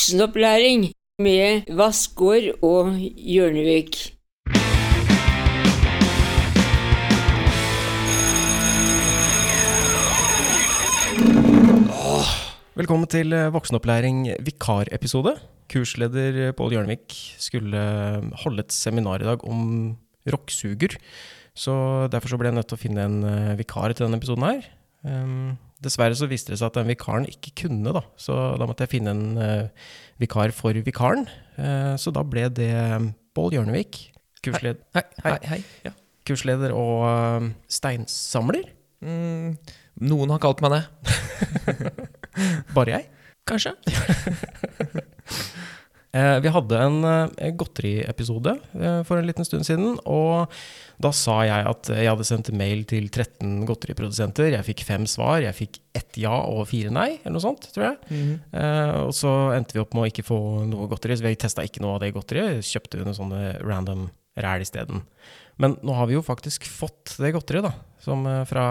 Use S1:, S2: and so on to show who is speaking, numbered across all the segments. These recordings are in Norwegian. S1: Voksenopplæring med Vassgård og Hjørnevik.
S2: Velkommen til eh, voksenopplæring vikarepisode. Kursleder eh, Pål Hjørnevik skulle eh, holde et seminar i dag om rocksuger. Så derfor så ble jeg nødt til å finne en eh, vikar til denne episoden her. Ehm, dessverre så viste det seg at den vikaren ikke kunne, da. Så da måtte jeg finne en eh, vikar for vikaren. Eh, så da ble det Pål Hjørnevik, kursled,
S3: Hei,
S2: Hei.
S3: hei, hei. Ja.
S2: kursleder og eh, steinsamler.
S3: Mm, noen har kalt meg det.
S2: Bare jeg.
S3: Kanskje?
S2: Eh, Vi hadde en eh, godteriepisode eh, for en liten stund siden, og da sa jeg at jeg hadde sendt mail til 13 godteriprodusenter. Jeg fikk fem svar. Jeg fikk ett ja og fire nei, eller noe sånt, tror jeg.
S3: Mm.
S2: Eh, Og så endte vi opp med å ikke få noe godteri, så vi testa ikke noe av det godteriet. Kjøpte noe sånne random ræl isteden. Men nå har vi jo faktisk fått det godteriet, da. Som eh, fra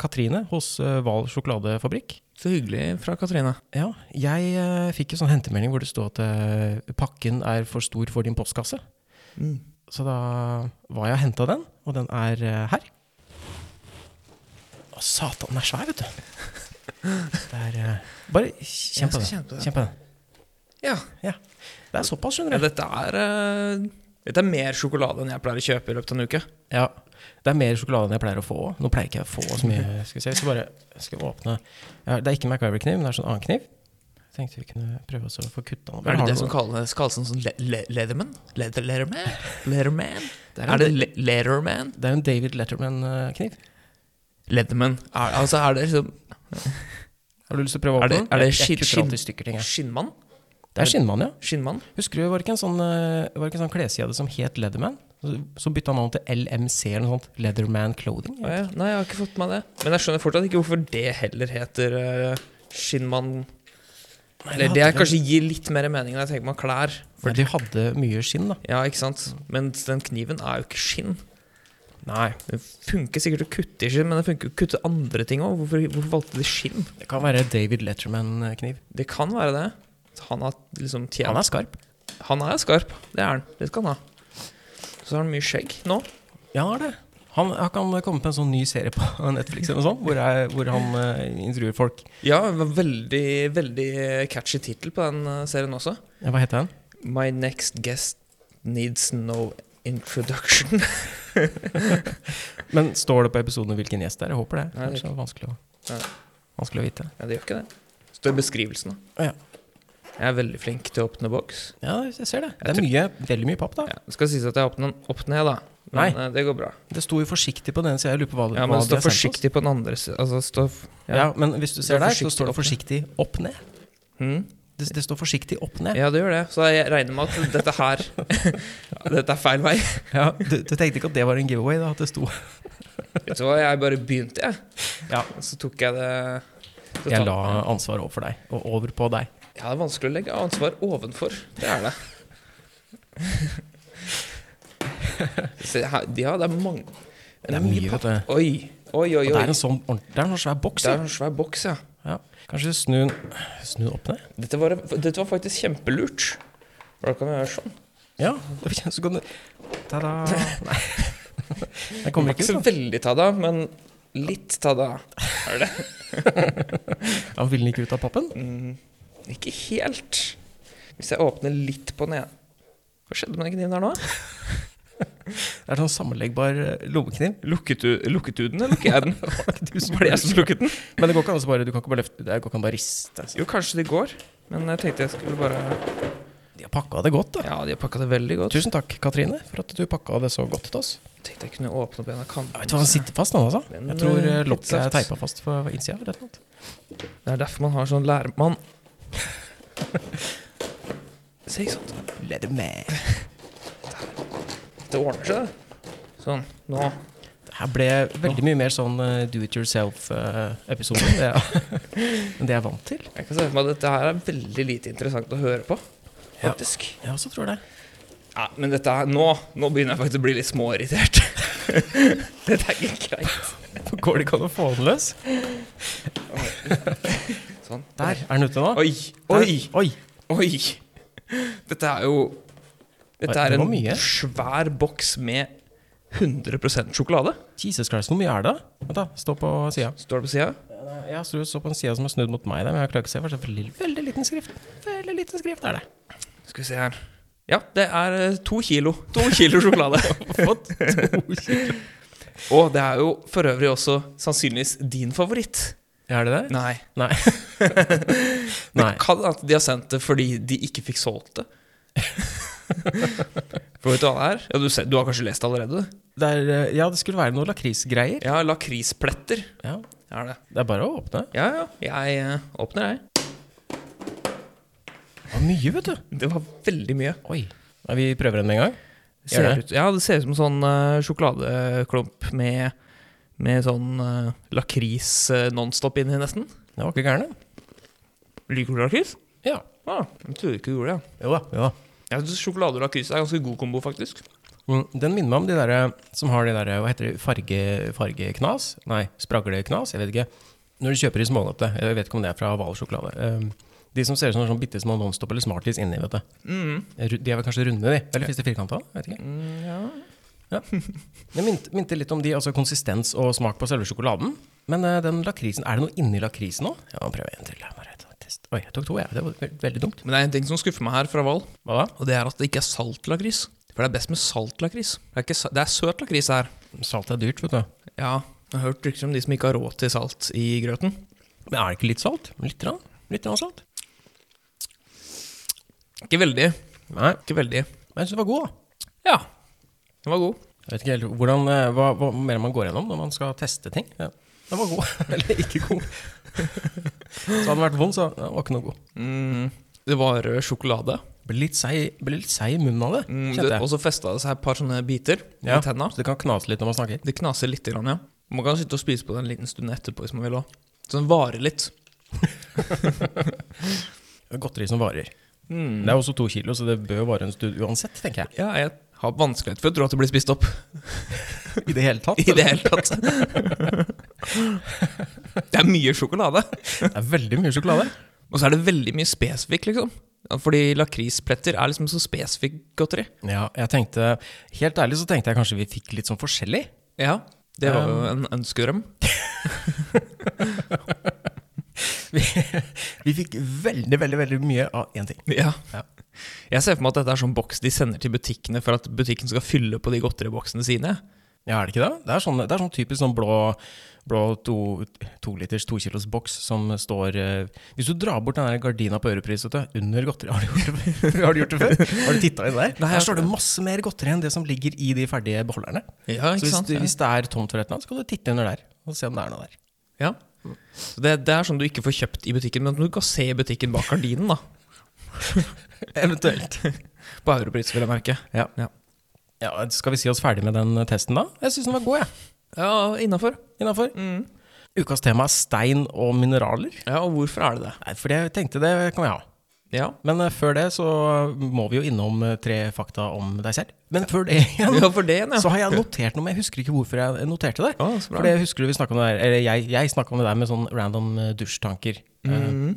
S2: Katrine hos eh, Hval sjokoladefabrikk.
S3: Så hyggelig fra Katrine.
S2: Ja, jeg eh, fikk jo sånn hentemelding hvor det stod at eh, pakken er for stor for din postkasse. Mm. Så da var jeg og henta den, og den er eh, her. Å, satan, den er svær, vet du. Det er eh, Bare
S3: Jeg
S2: kjenn
S3: skal
S2: på den.
S3: kjenne på det.
S2: Kjenn på den.
S3: Ja.
S2: Det er såpass,
S3: ja,
S2: skjønner du.
S3: dette er eh, Dette er mer sjokolade enn jeg pleier å kjøpe i løpet av en uke.
S2: Ja. Det er mer sjokolade enn jeg pleier å få. Nå pleier ikke jeg å få så mye. Skal vi se, jeg skal bare jeg skal åpne ja, Det er ikke MacGyver-kniv, men det er sånn annen kniv. Tenkte vi kunne prøve oss å få kutta den.
S3: Er det
S2: Har
S3: det
S2: du
S3: som
S2: noe-
S3: kalles, kalles en sånn le le Leatherman? Leather Letterman? Letterman?
S2: Det er
S3: Er det
S2: en,
S3: le Letterman?
S2: det er en David eh, Letterman-kniv.
S3: Leatherman. Er, altså, er det liksom
S2: Har du lyst til å prøve å
S3: Er det-
S2: åpne den?
S3: er det
S2: Jeg- jeg
S3: skinn-
S2: kutter
S3: skinn-
S2: alltid i stykker ting, jeg.
S3: skinnmann?
S2: Det er skinnmann, ja.
S3: Skinnmann?
S2: Husker du, var det ikke en sånn, eh, var det ikke en sånn kleskjede som het Leatherman? Så- Så bytta han navn til LMC eller noe sånt. Leatherman Clothing.
S3: Å ja. Nei, jeg har ikke fått med meg det. Men jeg skjønner fortsatt ikke hvorfor det heller heter eh, skinnmann.
S2: Nei,
S3: Eller
S2: de
S3: det
S2: hadde vel-
S3: kanskje gir litt mer mening når jeg tenker meg klær.
S2: Nei, de hadde mye skinn, da.
S3: Ja, ikke sant? Men den kniven er jo ikke skinn.
S2: Nei,
S3: Den funker sikkert å kutte i skinn, men den funker jo å kutte andre ting òg. Hvorfor, hvorfor valgte de skinn?
S2: det kan være David Letterman-kniv.
S3: Det kan være det. Han har liksom
S2: Han
S3: tjent
S2: er skarp.
S3: Han er skarp. Det er han. Det skal han ha. Så har han mye skjegg nå.
S2: Ja, han er det. Han, han kan komme på en sånn ny serie på Netflix eller noe sånt, hvor, jeg, hvor han eh, intervjuer folk.
S3: Ja, det var veldig, veldig catchy tittel på den eh, serien også.
S2: Ja, Hva heter han?
S3: My next guest needs no introduction.
S2: Men står det på episoden hvilken gjest det er? Jeg håper det.
S3: Nei,
S2: Ellers
S3: det
S2: er det vanskelig å,
S3: Nei.
S2: vanskelig å vite.
S3: Nei, det gjør ikke det. Det står i beskrivelsen. da.
S2: Ja.
S3: Jeg er veldig flink til å åpne boks.
S2: Ja, jeg ser det. Det
S3: Jeg
S2: er mye, veldig mye papp, da.
S3: Ja, det skal sies at jeg åpner den opp ned, da. Men eh, det går bra.
S2: Det sto jo forsiktig på den, så jeg lurer på hva,
S3: Ja,
S2: hva de
S3: men stå
S2: har sendt oss.
S3: forsiktig på den andre siden. Altså, stå f-
S2: Ja. men hvis du
S3: Det
S2: ser
S3: er
S2: der, så
S3: forsiktig
S2: står det
S3: opp ned.
S2: forsiktig opp ned.
S3: Hm?
S2: Det, det står forsiktig opp ned.
S3: ja, det gjør det. Så jeg regner med at dette her Dette er feil vei.
S2: Ja, du, du tenkte ikke at det var en giveaway, da? At det sto
S3: Vet du hva, jeg bare begynte, jeg.
S2: Ja.
S3: Så tok jeg det så
S2: Jeg
S3: tok-
S2: la ansvaret over for deg, og over på deg.
S3: Ja, det er vanskelig å legge ansvar ovenfor. Det er det. Se her, de har, det er mange
S2: Det er mye, vet du.
S3: Oi, oi, oi.
S2: Og det
S3: oi.
S2: er en sånn ordent- Det er en sånn svær boks,
S3: Det er
S2: ja.
S3: en svær boks, ja.
S2: ja. Kanskje snu den Snu den opp ned?
S3: Dette var, dette var faktisk kjempelurt. For da kan vi gjøre sånn.
S2: Ja, så kan du Ta-da. Nei. Den
S3: Det
S2: kommer
S3: er
S2: ikke
S3: ikke så
S2: ut, da.
S3: veldig tada, men litt tada. Er det?
S2: Ja, vil den ikke ut av pappen?
S3: Mm, ikke helt. Hvis jeg åpner litt på den ene Hva skjedde med den kniven her nå?
S2: Det er sånn sammenleggbar eh, lommekniv.
S3: Lukket du, lukket du den, eller lukket jeg den?
S2: Du som
S3: Var det jeg som lukket den?
S2: Men det går ikke an å bare Du kan ikke bare løfte Det går ikke an å bare riste.
S3: Jo, kanskje det går. Men jeg tenkte jeg skulle bare
S2: De har pakka det godt, da.
S3: Ja, de har pakka det veldig godt.
S2: Tusen takk, Katrine, for at du pakka det så godt til oss.
S3: Tenkte jeg kunne åpne opp en av
S2: Jeg vet hva, Han
S3: kantene.
S2: sitter fast, han altså.
S3: Den,
S2: jeg tror eh,
S3: eh,
S2: lokket er
S3: pizzaen.
S2: teipa fast på innsida. eller noe.
S3: Det er derfor man har sånn lærermann. Se, ikke sant.
S2: Let it man.
S3: Det ordner seg, det. Sånn. Nå.
S2: Det her ble veldig mye mer sånn eh, do it yourself-episode enn det jeg er vant til.
S3: Jeg kan se for meg at dette her er veldig lite interessant å høre på,
S2: Ja.
S3: faktisk. Ja.
S2: Jeg også tror det.
S3: men dette her, nå, nå begynner jeg faktisk å bli litt småirritert. dette er ikke greit.
S2: Går det ikke an å få den løs?
S3: Sånn.
S2: Der er den ute nå.
S3: Oi, oi,
S2: Der. Oi.
S3: Oi! Dette er jo Dette
S2: Oi,
S3: er
S2: det var
S3: en
S2: mye.
S3: svær boks med 100 sjokolade.
S2: Jesus Christ, hvor mye er det? Vent da, Stå på sida.
S3: Står det på sida?
S2: Jeg står står på en side som er snudd mot meg, der, men jeg klarer ikke å se. for det er veldig- Veldig liten skrift. Veldig liten skrift er det.
S3: Skal vi se her. Ja, det er eh, to kilo. To kilo sjokolade.
S2: Fått to kilo.
S3: Og det er jo for øvrig også sannsynligvis din favoritt.
S2: Er det det?
S3: Nei.
S2: Nei.
S3: Det
S2: Nei.
S3: kan at de har sendt det fordi de ikke fikk solgt det. For vet du hva det er? Ja, du, ser, du har kanskje lest det allerede? du?
S2: Det er, eh, ja, det skulle være noe lakrisgreier.
S3: Ja, lakrispletter
S2: Ja.
S3: er det.
S2: Det er bare å åpne.
S3: Ja, ja. Jeg eh, åpner, jeg.
S2: Det var mye, vet du.
S3: Det var veldig mye.
S2: Oi. Nei, vi prøver den med en gang.
S3: Ser
S2: Gjør det.
S3: ut, ja, det ser ut som en sånn eh, sjokoladeklump med, med sånn eh, lakris eh, nonstop inni, nesten.
S2: Det var ikke gærent.
S3: Liker du lakris?
S2: Ja.
S3: Ja, jeg trodde ikke du gjorde det.
S2: Jo da. Jo da.
S3: Jeg synes Sjokolade og lakris er en ganske god kombo, faktisk.
S2: Mm, Den minner meg om de der eh, som har de der, eh, hva heter det, farge, fargeknas? Nei, spragleknas? Jeg vet ikke. Når du kjøper i smånøtte, jeg vet ikke om det er fra Hval sjokolade. Ehm, De som ser ut som sånn bitte små Nonstop eller Smarties inni, vet du. Eh,
S3: Mm.
S2: Ru- De er vel kanskje runde, de? Eller fins det firkanta? Vet ikke.
S3: Ja.
S2: Det minte, minte litt om de, altså konsistens og smak på selve sjokoladen. Men eh, den lakrisen, er det noe inni lakrisen òg? Ja, prøv en til. jeg Bare ta- test. Oi, jeg tok to, jeg. Det var ve- veldig dumt.
S3: Men det er en ting som skuffer meg her fra Val,
S2: Hva da?
S3: og det er at det ikke er saltlakris. For det er best med saltlakris. Det er, ikke, sa- det er søt lakris her.
S2: Salt er dyrt, vet du.
S3: Ja, jeg har hørt rykter om de som ikke har råd til salt i grøten.
S2: Men er det ikke litt salt? Litt, grann? litt grann salt?
S3: Ikke veldig.
S2: Nei,
S3: Ikke veldig.
S2: men jeg syns den var god, da.
S3: Ja, den var god.
S2: Jeg vet ikke helt hvordan, eh, hva, hva mer man går gjennom når man skal teste ting. Ja. Den var god, eller ikke god. så hadde den vært vond, så ja, den var ikke noe god.
S3: Mm. Det var rød sjokolade.
S2: Ble litt seig ble litt seig i munnen av det,
S3: Mm,
S2: kjente
S3: det-
S2: jeg.
S3: Og så festa det seg et par sånne biter
S2: Ja,
S3: i tenna.
S2: så det kan knase litt når man snakker.
S3: Det knaser litt, grann, ja. Man kan sitte og spise på det en liten stund etterpå hvis man vil òg. Så den varer litt.
S2: Godteri som varer.
S3: Mm.
S2: Det er også to kilo, så det bør jo vare en stund uansett, tenker jeg.
S3: Ja, jeg har vanskelighet for å tro at det blir spist opp
S2: I det hele tatt.
S3: i det hele tatt. Det er mye sjokolade.
S2: Det er veldig mye sjokolade.
S3: Og så er det veldig mye spesifikk, liksom. Ja, Fordi lakrispletter er liksom så spesifikk godteri.
S2: Ja, jeg tenkte, Helt ærlig så tenkte jeg kanskje vi fikk litt sånn forskjellig.
S3: Ja, Um, det var jo en ønskedrøm.
S2: Vi fikk veldig, veldig veldig mye av én ting.
S3: Ja.
S2: Ja.
S3: Jeg ser for meg at dette er sånn boks de sender til butikkene for at butikken skal fylle på de godteriboksene sine.
S2: Ja, er det ikke det? Det er sånn, det er sånn typisk sånn blå, blå to, to liters, to kilos boks som står eh, Hvis du drar bort den der gardina på Europris, vet du, under godteri Har du gjort det, før? har du gjort det før? Har du titta inn der?
S3: Nei, jeg-
S2: der står det masse mer godteri enn det som ligger i de ferdige beholderne.
S3: Ja,
S2: Så hvis, du,
S3: Ja.
S2: hvis det er tomt for et eller annet, så kan du titte under der og se om det er noe der.
S3: Ja. Så det, det er sånn du ikke får kjøpt i butikken, men du kan se i butikken bak gardinen, da.
S2: Eventuelt.
S3: På europris, vil jeg merke.
S2: Ja.
S3: Ja.
S2: ja, Skal vi si oss ferdig med den testen, da? Jeg syns den var god, jeg.
S3: Ja, innafor.
S2: Innafor.
S3: Mm.
S2: Ukas tema er stein og mineraler.
S3: Ja, og hvorfor er det det?
S2: Nei, for jeg tenkte det kan vi ha.
S3: Ja.
S2: Men eh, før det så må vi jo innom eh, tre fakta om deg selv. Men før det igjen,
S3: ja, for det igjen, ja.
S2: så har jeg notert noe, men jeg husker ikke hvorfor jeg noterte det.
S3: Ja, så bra.
S2: For det husker du vi snakket om det der, eller jeg, jeg snakket om det der med sånn random eh, dusjtanker. Eh,
S3: Mm.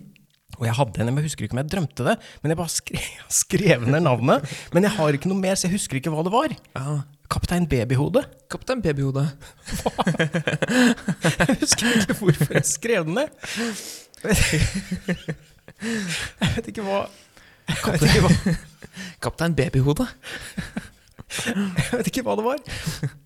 S2: Og jeg hadde en, men jeg husker ikke om jeg drømte det. Men jeg bare skrev, skrev ned navnet. Men jeg har ikke noe mer, så jeg husker ikke hva det var.
S3: ja.
S2: Kaptein Babyhode.
S3: Kaptein Babyhode.
S2: Jeg husker ikke hvorfor jeg skrev den ned. Jeg vet ikke hva Jeg vet ikke hva
S3: Kaptein Babyhode?
S2: Jeg vet ikke hva det var.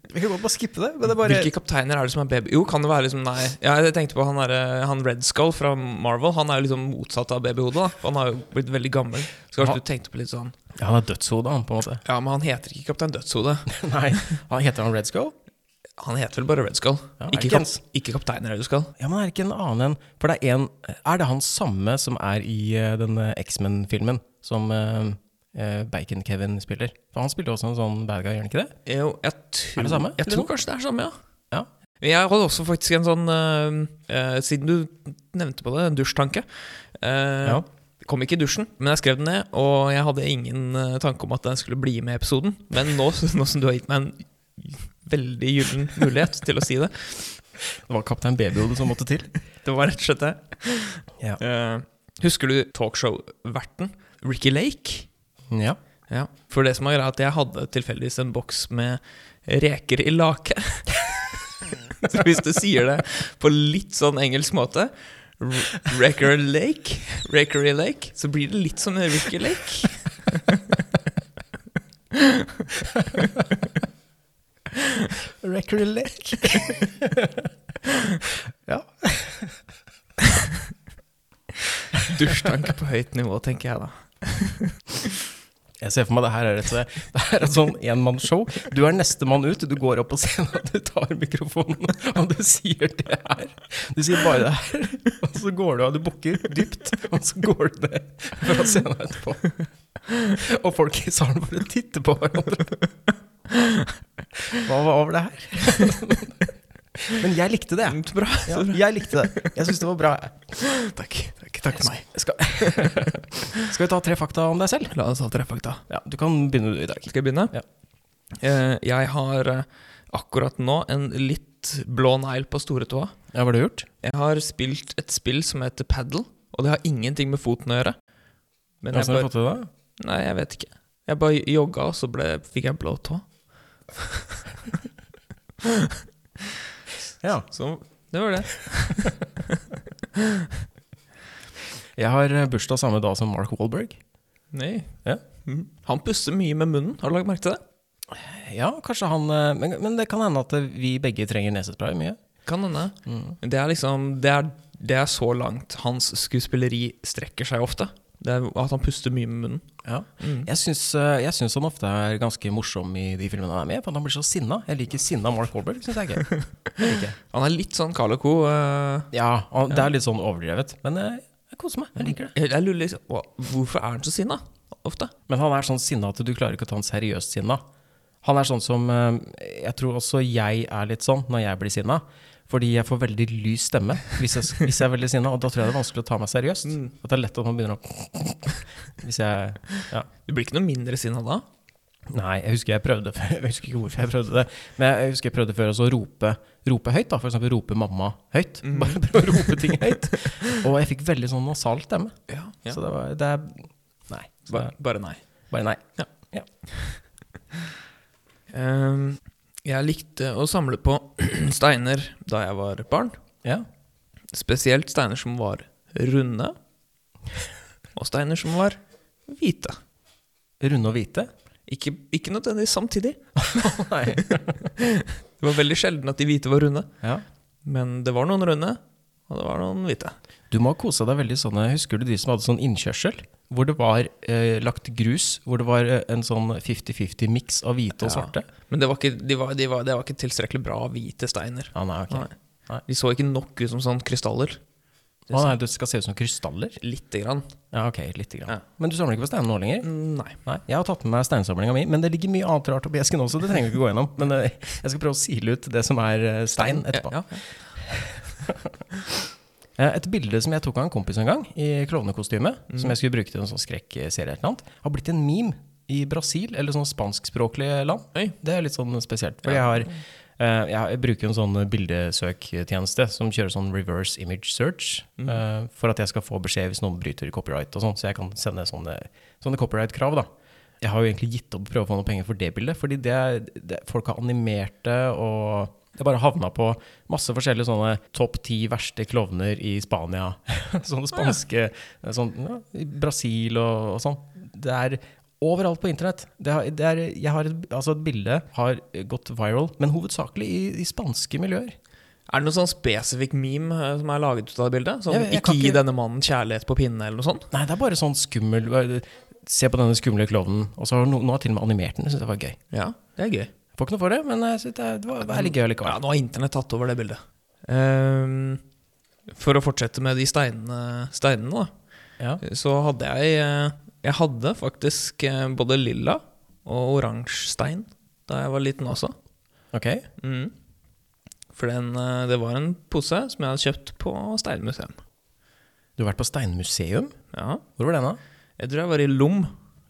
S2: Vi kan godt bare skippe det. Men det er bare
S3: Hvilke kapteiner er det som er baby... Jo, kan det være liksom Nei. Ja, jeg tenkte på han, der, eh, han Red Skull fra Marvel. Han er jo liksom motsatt av Babyhode. da. Han har jo blitt veldig gammel.
S2: Ja.
S3: Så kanskje du tenkte på litt sånn
S2: Ja, Han er dødshodet, han, på en måte.
S3: Ja, men han heter ikke Kaptein Dødshode.
S2: Nei, han Heter han Red Skull?
S3: Han heter vel bare Red Skull.
S2: Ja, er det
S3: ikke,
S2: ikke
S3: kap, ikke Kaptein Red Skull.
S2: Ja, men er det ikke en annen en? For det er en Er det han samme som er i eh, denne X-Men-filmen som eh, eh, Bacon-Kevin spiller? For han spiller også en sånn bad guy, gjør han ikke det?
S3: Jo, jeg tror,
S2: Er det samme,
S3: Jeg
S2: eller
S3: tror
S2: noe?
S3: kanskje det er samme, ja.
S2: Ja.
S3: Men jeg hadde også faktisk en sånn eh, eh, Siden du nevnte på det, en dusjtanke. Eh,
S2: Ja.
S3: det Kom ikke i dusjen, men jeg skrev den ned. Og jeg hadde ingen eh, tanke om at den skulle bli med i episoden. Men nå, nå som du har gitt meg en veldig gyllen mulighet til å si det
S2: Det var Kaptein Babyhode som måtte til.
S3: Det var rett og slett det.
S2: Ja.
S3: Eh, husker du talkshow-verten Ricky Lake.
S2: Ja.
S3: Ja, For det som er greia, er at jeg hadde tilfeldigvis en boks med reker i lake. Så hvis du sier det på litt sånn engelsk måte R- Recker Lake, Rakery Lake, så blir det litt som en Ricky Lake.
S2: Record Lake. ja.
S3: Dusjtanke på høyt nivå, tenker jeg da.
S2: Jeg ser for meg det her er et, det her er et sånn enmannsshow. Du er nestemann ut. Du går opp på scenen, og du tar mikrofonen, og du sier det her. Du sier bare det her, og så går du av. Du bukker dypt, og så går du ned fra scenen etterpå. Og folk i salen bare titter på hverandre. Hva var det her? Men jeg likte det, jeg.
S3: Så Bra.
S2: Ja, jeg likte det. Jeg syns det var bra.
S3: Takk. Takk, takk for meg.
S2: Skal, skal vi ta tre fakta om deg selv?
S3: La oss ha tre fakta.
S2: Ja, Du kan begynne du i dag.
S3: Skal jeg begynne?
S2: Ja.
S3: Eh, jeg har eh, akkurat nå en litt blå negl på storetåa.
S2: Ja, Hva har du gjort?
S3: Jeg har spilt et spill som heter Paddle, og det har ingenting med foten å gjøre. Men
S2: Hvordan har
S3: jeg
S2: du
S3: bare,
S2: fått til det? da?
S3: nei, jeg vet ikke. Jeg bare jogga, og så ble, fikk jeg en blå tå.
S2: Ja.
S3: Så det var det.
S2: Jeg har eh, bursdag samme dag som Mark Wahlberg.
S3: Nei.
S2: Ja.
S3: Mhm. Han puster mye med munnen, har du lagt merke til det?
S2: Ja, kanskje han eh, Men, men det kan hende at eh, vi begge trenger nesespray mye.
S3: Kan hende.
S2: Mm.
S3: Det er liksom det er, det er så langt hans skuespilleri strekker seg ofte. Det er at han puster mye med munnen.
S2: Ja. Jeg, syns, eh, jeg syns han ofte er ganske morsom i de filmene han er med i, for han blir så sinna. Jeg liker sinna Mark Wahlberg, syns jeg ikke. Jeg liker.
S3: Han er litt sånn Carl Co. eh,
S2: Ja, han, det er litt sånn overdrevet, men eh, jeg koser meg. Jeg liker det.
S3: jeg, jeg lurer liksom hva- Hvorfor er han så sinna ofte?
S2: Men han er sånn sinna at du klarer ikke å ta han seriøst sinna. Han er sånn som eh, Jeg tror også jeg er litt sånn når jeg blir sinna. Fordi jeg får veldig lys stemme hvis jeg, hvis jeg er veldig sinna. Og da tror jeg det er vanskelig å ta meg seriøst. At det er lett at man begynner å Hvis jeg Ja.
S3: Du blir ikke noe mindre sinna da?
S2: Nei, jeg husker jeg prøvde før. Jeg husker ikke hvorfor jeg prøvde det. Men jeg husker jeg prøvde før også å rope, rope høyt. da, For eksempel rope mamma høyt. Bare prøve å rope ting høyt. Og jeg fikk veldig sånn nasal stemme.
S3: Ja,
S2: Så det var det er, Nei. Så det
S3: Bare,
S2: er
S3: bare nei.
S2: bare nei.
S3: Ehm, jeg likte å samle på steiner da jeg var barn.
S2: Ja.
S3: Spesielt steiner som var runde, og steiner som var hvite.
S2: Runde og hvite.
S3: Ikke, ikke nødvendigvis samtidig.
S2: Nei.
S3: Det var veldig sjelden at de hvite var runde.
S2: Ja.
S3: Men det var noen runde, og det var noen hvite.
S2: Du må ha kosa deg veldig sånn Husker du de som hadde sånn innkjørsel? Hvor det var eh, lagt grus, hvor det var eh, en sånn 50-50-miks av hvite og
S3: Ja.
S2: svarte?
S3: Men det var ikke, de var, de var, det var ikke tilstrekkelig bra hvite steiner.
S2: Ah, nei, ok.
S3: Nei.
S2: Nei.
S3: De så ikke nok ut som sånn krystaller.
S2: Ah, nei, det skal se ut som krystaller?
S3: Lite grann.
S2: Ja, ok, lite grann.
S3: Ja.
S2: Men du samler ikke på steiner nå lenger?
S3: Nei.
S2: Nei, Jeg har tatt med meg steinsamlinga mi, men det ligger mye annet rart oppi esken også. Det trenger vi ikke gå gjennom. Men eh, jeg skal prøve å sile ut det som er eh, stein etterpå.
S3: Ja, ja.
S2: Eh, Et bilde som jeg tok av en kompis en gang, i klovnekostyme, som jeg skulle bruke til en sånn skrekkserie, eller noe annet, har blitt en meme i Brasil, eller sånn spanskspråklige land.
S3: Oi.
S2: Det er litt sånn spesielt. For jeg, har, eh, jeg har- jeg bruker en sånn bildesøktjeneste som kjører sånn reverse image search, eh, for at jeg skal få beskjed hvis noen bryter copyright og sånn, så jeg kan sende sånne, sånne copyright-krav, da. Jeg har jo egentlig gitt opp å prøve å få noen penger for det bildet, fordi det, er- det, folk har animert det, og det bare havna på masse forskjellige sånne topp ti verste klovner i Spania. Sånne spanske sånn, ja, i Brasil og, og sånn. Det er overalt på internett. Det har, det er, jeg har et, altså et bilde har gått viral, men hovedsakelig i, i spanske miljøer.
S3: Er det noen sånn spesifikk meme eh, som er laget ut av det bildet? Sånn,
S2: Jeg- jeg
S3: ikke
S2: kan
S3: gi
S2: ikke-
S3: denne mannen kjærlighet på pinnen, eller noe sånt?
S2: Nei, det er bare sånn skummel Se på denne skumle klovnen. Og så har no, noen har til og med animert den. Jeg syns det var gøy.
S3: Ja, det er gøy.
S2: Får ikke noe for det, men jeg synes det, er- det var det er litt gøy
S3: Ja,
S2: likevel.
S3: nå har internett tatt over det bildet. Ehm, for å fortsette med de steinene, steinene da,
S2: Ja.
S3: så hadde jeg eh, Jeg hadde faktisk eh, både lilla og oransje stein da jeg var liten også.
S2: Ok.
S3: Mm. For den, eh, det var en pose som jeg hadde kjøpt på steinmuseum.
S2: Du har vært på steinmuseum.
S3: Ja.
S2: Hvor var den, da?
S3: Jeg tror jeg var i Lom.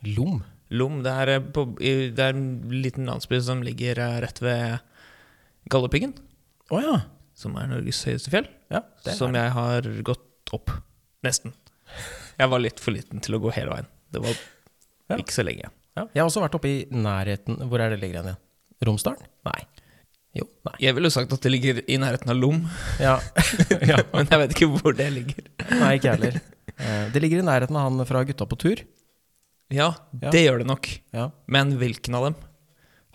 S2: Lom.
S3: Lom, det er, eh, på, i, det er en liten landsby som ligger eh, rett ved Galdhøpiggen,
S2: Å ja.
S3: som er Norges høyeste fjell.
S2: ja det er-
S3: som jeg har gått opp. Nesten. Jeg var litt for liten til å gå hele veien. Det var
S2: Ja.
S3: ikke så lenge.
S2: Ja. Jeg har også vært oppe i nærheten Hvor er det ligger igjen? igjen? Romsdalen? Nei. Jo, nei.
S3: Jeg ville jo sagt at det ligger i nærheten av Lom,
S2: Ja. ja.
S3: men jeg vet ikke hvor det ligger.
S2: Nei, ikke jeg heller. Eh, Det ligger i nærheten av han fra Gutta på tur.
S3: Ja,
S2: Ja.
S3: det gjør det nok.
S2: Ja.
S3: Men hvilken av dem?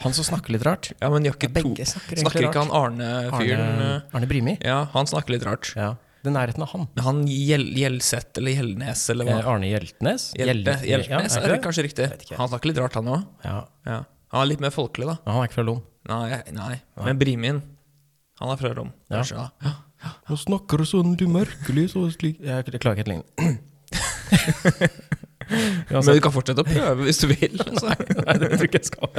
S2: Han som snakker litt rart.
S3: Ja, men de har ikke
S2: Ja, begge
S3: to.
S2: snakker
S3: Snakker,
S2: egentlig
S3: ikke han Arne-fyren?
S2: Arne, Arne Brimi.
S3: Ja, han snakker litt rart.
S2: Ja. Det er nærheten av han.
S3: Han Gjel Gjelset eller Gjelnes eller hva?
S2: Eh, Arne Hjeltnes.
S3: Hjelte,
S2: Hjel-
S3: Hjeltnes
S2: Ja, er
S3: er
S2: det det?
S3: det kanskje riktig.
S2: Vet ikke.
S3: Han snakker litt rart, han òg.
S2: Ja.
S3: Ja. Han er litt mer folkelig, da.
S2: Men Han er ikke fra Lom.
S3: Nei, nei. men Brimin Han er fra Rom,
S2: Ja.
S3: kanskje. da.
S2: Han snakker sånn litt merkelig så slik Jeg klarer ikke helt lignende.
S3: Men du kan fortsette å prøve hvis du vil. Altså.
S2: Nei, det tror jeg ikke jeg skal.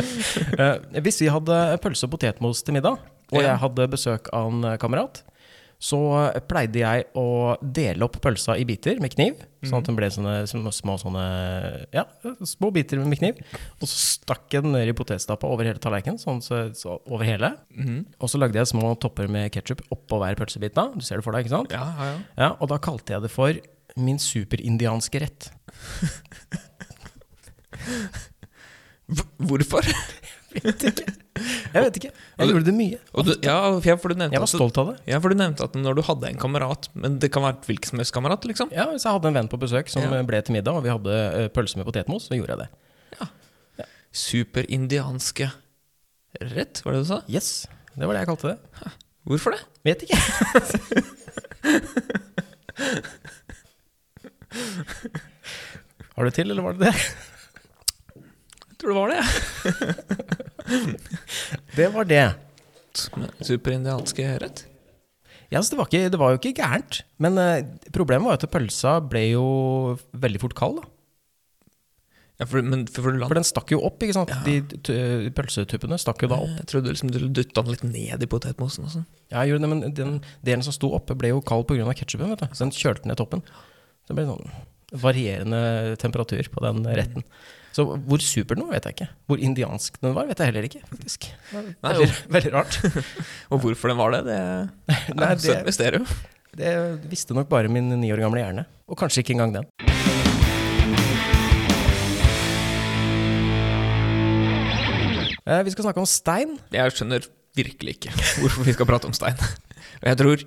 S2: Eh, hvis vi hadde pølse og potetmos til middag, og
S3: Ja.
S2: jeg hadde besøk av en eh, kamerat, så eh, pleide jeg å dele opp pølsa i biter med kniv, sånn at den ble sånne små, små sånne Ja, små biter med kniv. Og så stakk jeg den ned i potetstappa over hele tallerkenen, sånn så, så over hele. Og så lagde jeg små topper med ketsjup oppå hver pølsebit da. Du ser det for deg, ikke sant?
S3: Ja, ja, ja.
S2: Ja, og da kalte jeg det for min superindianske rett.
S3: Hvor- Hvorfor?
S2: Jeg vet ikke. Jeg gjorde det mye.
S3: Og du, ja, for jeg- for du nevnte
S2: Jeg var
S3: at,
S2: stolt av det.
S3: ja, for du nevnte at når du hadde en kamerat Men det kan være hvilken som helst kamerat, liksom.
S2: Ja, hvis jeg hadde en venn på besøk som
S3: Ja.
S2: ble til middag, og vi hadde eh, pølse med potetmos, så gjorde jeg det.
S3: Superindianske rett, var det du sa?
S2: Yes, Det var det jeg kalte det.
S3: Hvorfor det?
S2: Vet ikke. Har du til, eller var det det?
S3: Jeg tror det var det. jeg.
S2: Det var det.
S3: Men Superindianske rett?
S2: Ja, så det, var ikke, det var jo ikke gærent. Men eh, problemet var jo at pølsa ble jo veldig fort kald. da.
S3: Ja, for, men for, for du la
S2: For den stakk jo opp, ikke sant. De t- eh, pølsetuppene stakk jo da opp.
S3: Jeg trodde liksom du dytta den litt ned i potetmosen og sånn.
S2: Ja, jeg gjorde det, men den delen som sto oppe, ble jo kald pga. ketsjupen. vet du. Så den kjølte ned toppen. Så det ble sånn varierende temperatur på den retten. Så hvor super den var, vet jeg ikke. Hvor indiansk den var, vet jeg heller ikke, faktisk.
S3: Nei,
S2: Veldig, veldig rart.
S3: Og hvorfor den var det, det,
S2: Nei,
S3: er
S2: det-
S3: et mysterium.
S2: Det visste nok bare min ni år gamle hjerne. Og kanskje ikke engang den. Eh, Vi skal snakke om stein.
S3: Jeg skjønner virkelig ikke hvorfor vi skal prate om stein. Og jeg tror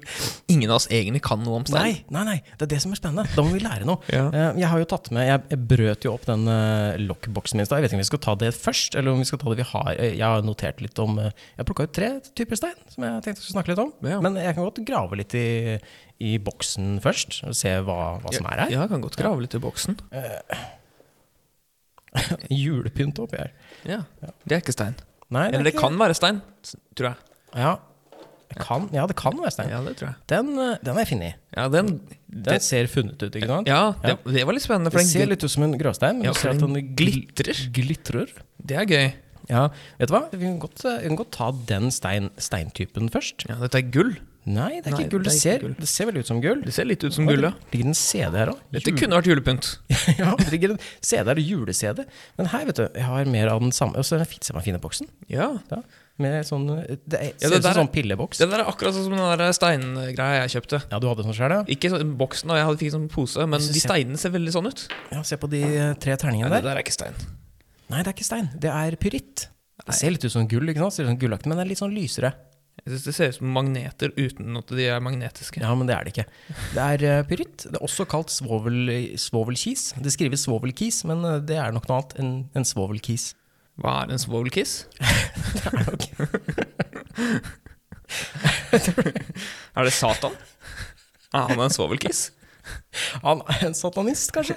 S3: ingen av oss egentlig kan noe om stein.
S2: Nei, nei, nei, det er det som er spennende. Da må vi lære noe.
S3: Ja.
S2: Eh, Jeg har jo tatt med, jeg- jeg brøt jo opp den eh, lokkboksen min i stad. Jeg vet ikke om vi skal ta det først, eller om vi skal ta det vi har. Eh, Jeg har notert litt om eh, Jeg plukka ut tre typer stein som jeg tenkte jeg skulle snakke litt om.
S3: Ja.
S2: Men jeg kan godt grave litt i, i boksen først, og se hva, hva som er her.
S3: Ja, jeg kan godt grave litt i boksen.
S2: Julepynt oppi her.
S3: Ja, Det er ikke stein.
S2: Nei,
S3: Eller det
S2: ikke-
S3: kan være stein, s- tror jeg.
S2: Ja, det kan, ja, det kan være stein.
S3: Ja, det tror jeg.
S2: Den, eh, den har jeg funnet.
S3: Ja, den,
S2: Den
S3: det,
S2: ser funnet ut, ikke sant?
S3: ja, det, det var litt spennende, for
S2: Den ser
S3: den,
S2: litt ut som en gråstein, men
S3: Ja,
S2: du
S3: for
S2: ser at
S3: den
S2: den gl- glitrer.
S3: gl- det er gøy.
S2: Ja, vet du hva? Vi kan godt, eh, vi kan godt ta den stein, steintypen først.
S3: Ja, dette er gull.
S2: Nei, det er ikke
S3: Nei,
S2: gull. Det,
S3: det er ikke
S2: ser,
S3: gull.
S2: det ser veldig ut som gull.
S3: Det ser litt ut som
S2: Å,
S3: gull, ja.
S2: det ligger en CD her òg.
S3: Dette kunne vært julepynt.
S2: ja, det ligger en CD her, jule-CD. Men her, vet du, jeg har mer av den samme. Og så er det fint, se på den fine boksen.
S3: Ja.
S2: Ja, med sånn, det er,
S3: Ja,
S2: ser
S3: det
S2: ut som
S3: der-
S2: sånn pilleboks.
S3: Den der er akkurat sånn som den der steingreia jeg kjøpte.
S2: Ja, du hadde sånn sjøl, ja?
S3: Ikke sånn boksen, og jeg hadde fikk sånn pose, men
S2: synes
S3: de
S2: jeg-
S3: steinene ser veldig sånn ut.
S2: ja? Se på de eh, tre terningene
S3: Nei, det
S2: der.
S3: der er ikke stein.
S2: Nei, det er ikke stein. Det er pyritt. Det ser litt ut som gull, ikke sant? Ser ut som gullaktig, men det er litt sånn lysere.
S3: Jeg synes det ser ut som magneter uten at de er magnetiske.
S2: Ja, men det er det ikke. Det er eh, pyritt. Det er også kalt svovel, svovelkis. Det skrives svovelkis, men eh, det er nok noe annet enn en svovelkis.
S3: Hva er en svovelkiss? Er det Satan? Er han en svovelkiss?
S2: Han er en satanist, kanskje?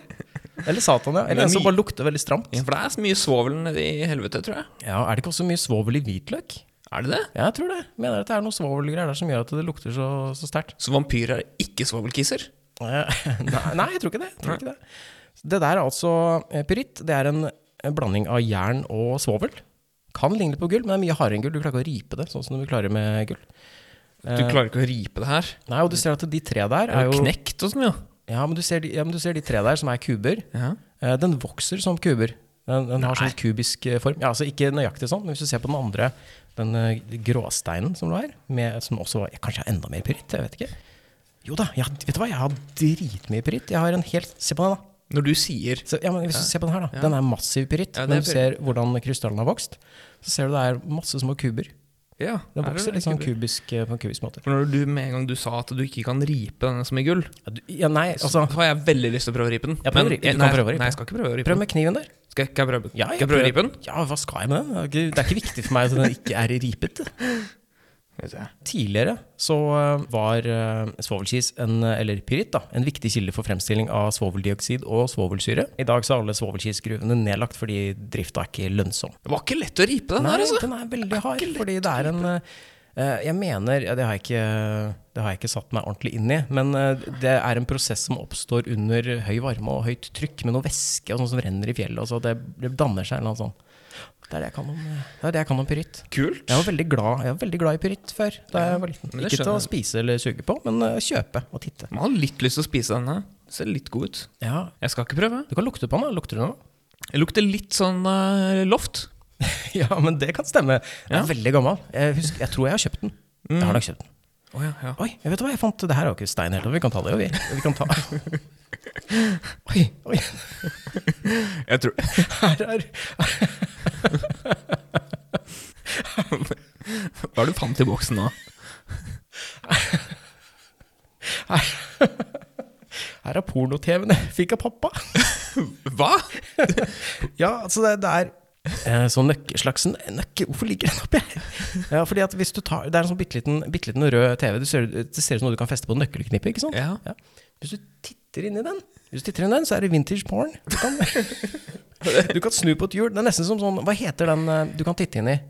S2: Eller Satan, ja. Eller en som bare lukter veldig stramt.
S3: Ja, for det er så mye svovel nede i helvete, tror jeg.
S2: Ja, Er det ikke også mye svovel i hvitløk?
S3: Er det det?
S2: Ja, jeg tror det. Mener at det er noe svovelgreier der som gjør at det lukter så, så sterkt.
S3: Så vampyrer er ikke svovelkisser?
S2: Eh, Nei, nei, jeg tror ikke det. Jeg tror ikke det. det der er altså eh, pyritt. Det er en en blanding av jern og svovel. Kan ligne litt på gull, men det er mye hardere enn gull. Du klarer ikke å ripe det, sånn som du klarer med gull. Eh,
S3: Du klarer ikke å ripe det her.
S2: Nei, og du ser at de tre der
S3: Det
S2: er
S3: Eh. er jo
S2: jo
S3: knekt og sånn, jo.
S2: Ja, men du ser de, ja, men du ser de tre der som er kuber.
S3: Ja.
S2: Eh, Den vokser som kuber. Den, den har
S3: Nei.
S2: sånn kubisk eh, form. Ja, altså Ikke nøyaktig sånn, men hvis du ser på den andre, den eh, gråsteinen som lå her, med, som også var kanskje er enda mer pyritt, jeg vet ikke. Jo da, jeg, vet du hva, jeg har dritmye pyritt. Jeg har en helt Se på den, da.
S3: Når du sier
S2: Så, ja, men hvis du
S3: Ja.
S2: ser på den her, da.
S3: Ja.
S2: Den er massiv pyritt.
S3: Ja, det er
S2: Når du ser hvordan krystallen har vokst, så ser du det er masse små kuber.
S3: Ja,
S2: Den
S3: er det
S2: vokser
S3: det?
S2: litt sånn kubisk eh, på en kubisk måte.
S3: For når du med en gang du sa at du ikke kan ripe denne som i gull,
S2: Ja, du, ja nei,
S3: så
S2: altså
S3: har jeg veldig lyst til å prøve å ripe den.
S2: Ja, prøv å ripe. Du
S3: eh,
S2: kan
S3: nei,
S2: prøve å ripe.
S3: Nei, jeg skal ikke prøve å ripe
S2: Prøv
S3: den.
S2: med kniven der.
S3: Skal jeg, kan jeg prøve den?
S2: Ja,
S3: skal jeg prøve å ripe den?
S2: Ja, hva skal jeg med den? Det er ikke- Det er ikke viktig for meg at den ikke er ripet. Tidligere så eh, var eh, svovelkis, en, eh, eller pyritt, da, en viktig kilde for fremstilling av svoveldioksid og svovelsyre. I dag så er alle svovelkisgruvene nedlagt fordi drifta er ikke lønnsom.
S3: Det var ikke lett å ripe den
S2: Nei,
S3: her, altså.
S2: den er veldig hard, fordi det er en eh, Jeg mener ja, det, har jeg ikke, det har jeg ikke satt meg ordentlig inn i, men eh, det er en prosess som oppstår under høy varme og høyt trykk, med noe væske og sånn som renner i fjellet. Og så det, det danner seg en eller annen sånn Det er det jeg kan om, eh, det er det jeg kan om pyritt.
S3: Kult.
S2: Jeg var veldig glad, jeg var veldig glad i pyritt før, da jeg var liten.
S3: men det
S2: Ikke til å
S3: skjønner
S2: spise eller suge på, men eh, kjøpe og titte.
S3: Man har litt lyst til å spise denne. Ser litt god ut.
S2: Ja,
S3: Jeg skal ikke prøve.
S2: Du kan lukte på den. da. Lukter du den? da?
S3: Jeg lukter litt sånn eh, loft.
S2: Ja, men det kan stemme. Den er
S3: Ja.
S2: veldig gammel. Jeg, husker, jeg tror jeg har kjøpt den. Jeg har nok kjøpt den.
S3: Å ja, ja.
S2: Oi, jeg vet hva jeg fant. Det her er jo ikke stein helt, og vi kan ta det jo, vi. vi kan ta. Oi, oi,
S3: Jeg tror
S2: her er
S3: Hva er det du fant i boksen nå?
S2: her er porno-TV-en jeg fikk av pappa.
S3: Hva?
S2: Ja, altså det, det er eh, så nøkkeslagsen nøkke, eh, Hvorfor ligger den oppi her? Ja, fordi at hvis du tar Det er en sånn bitte liten, bitte liten rød TV. Du ser, det ser ut som noe du kan feste på nøkkelknippet, ikke sant?
S3: Ja.
S2: Hvis du titter inn i den, hvis du titter inn i den, så er det vintage porn. Du kan, du kan snu på et hjul. Det er nesten som sånn Hva heter den eh, du kan titte inn i?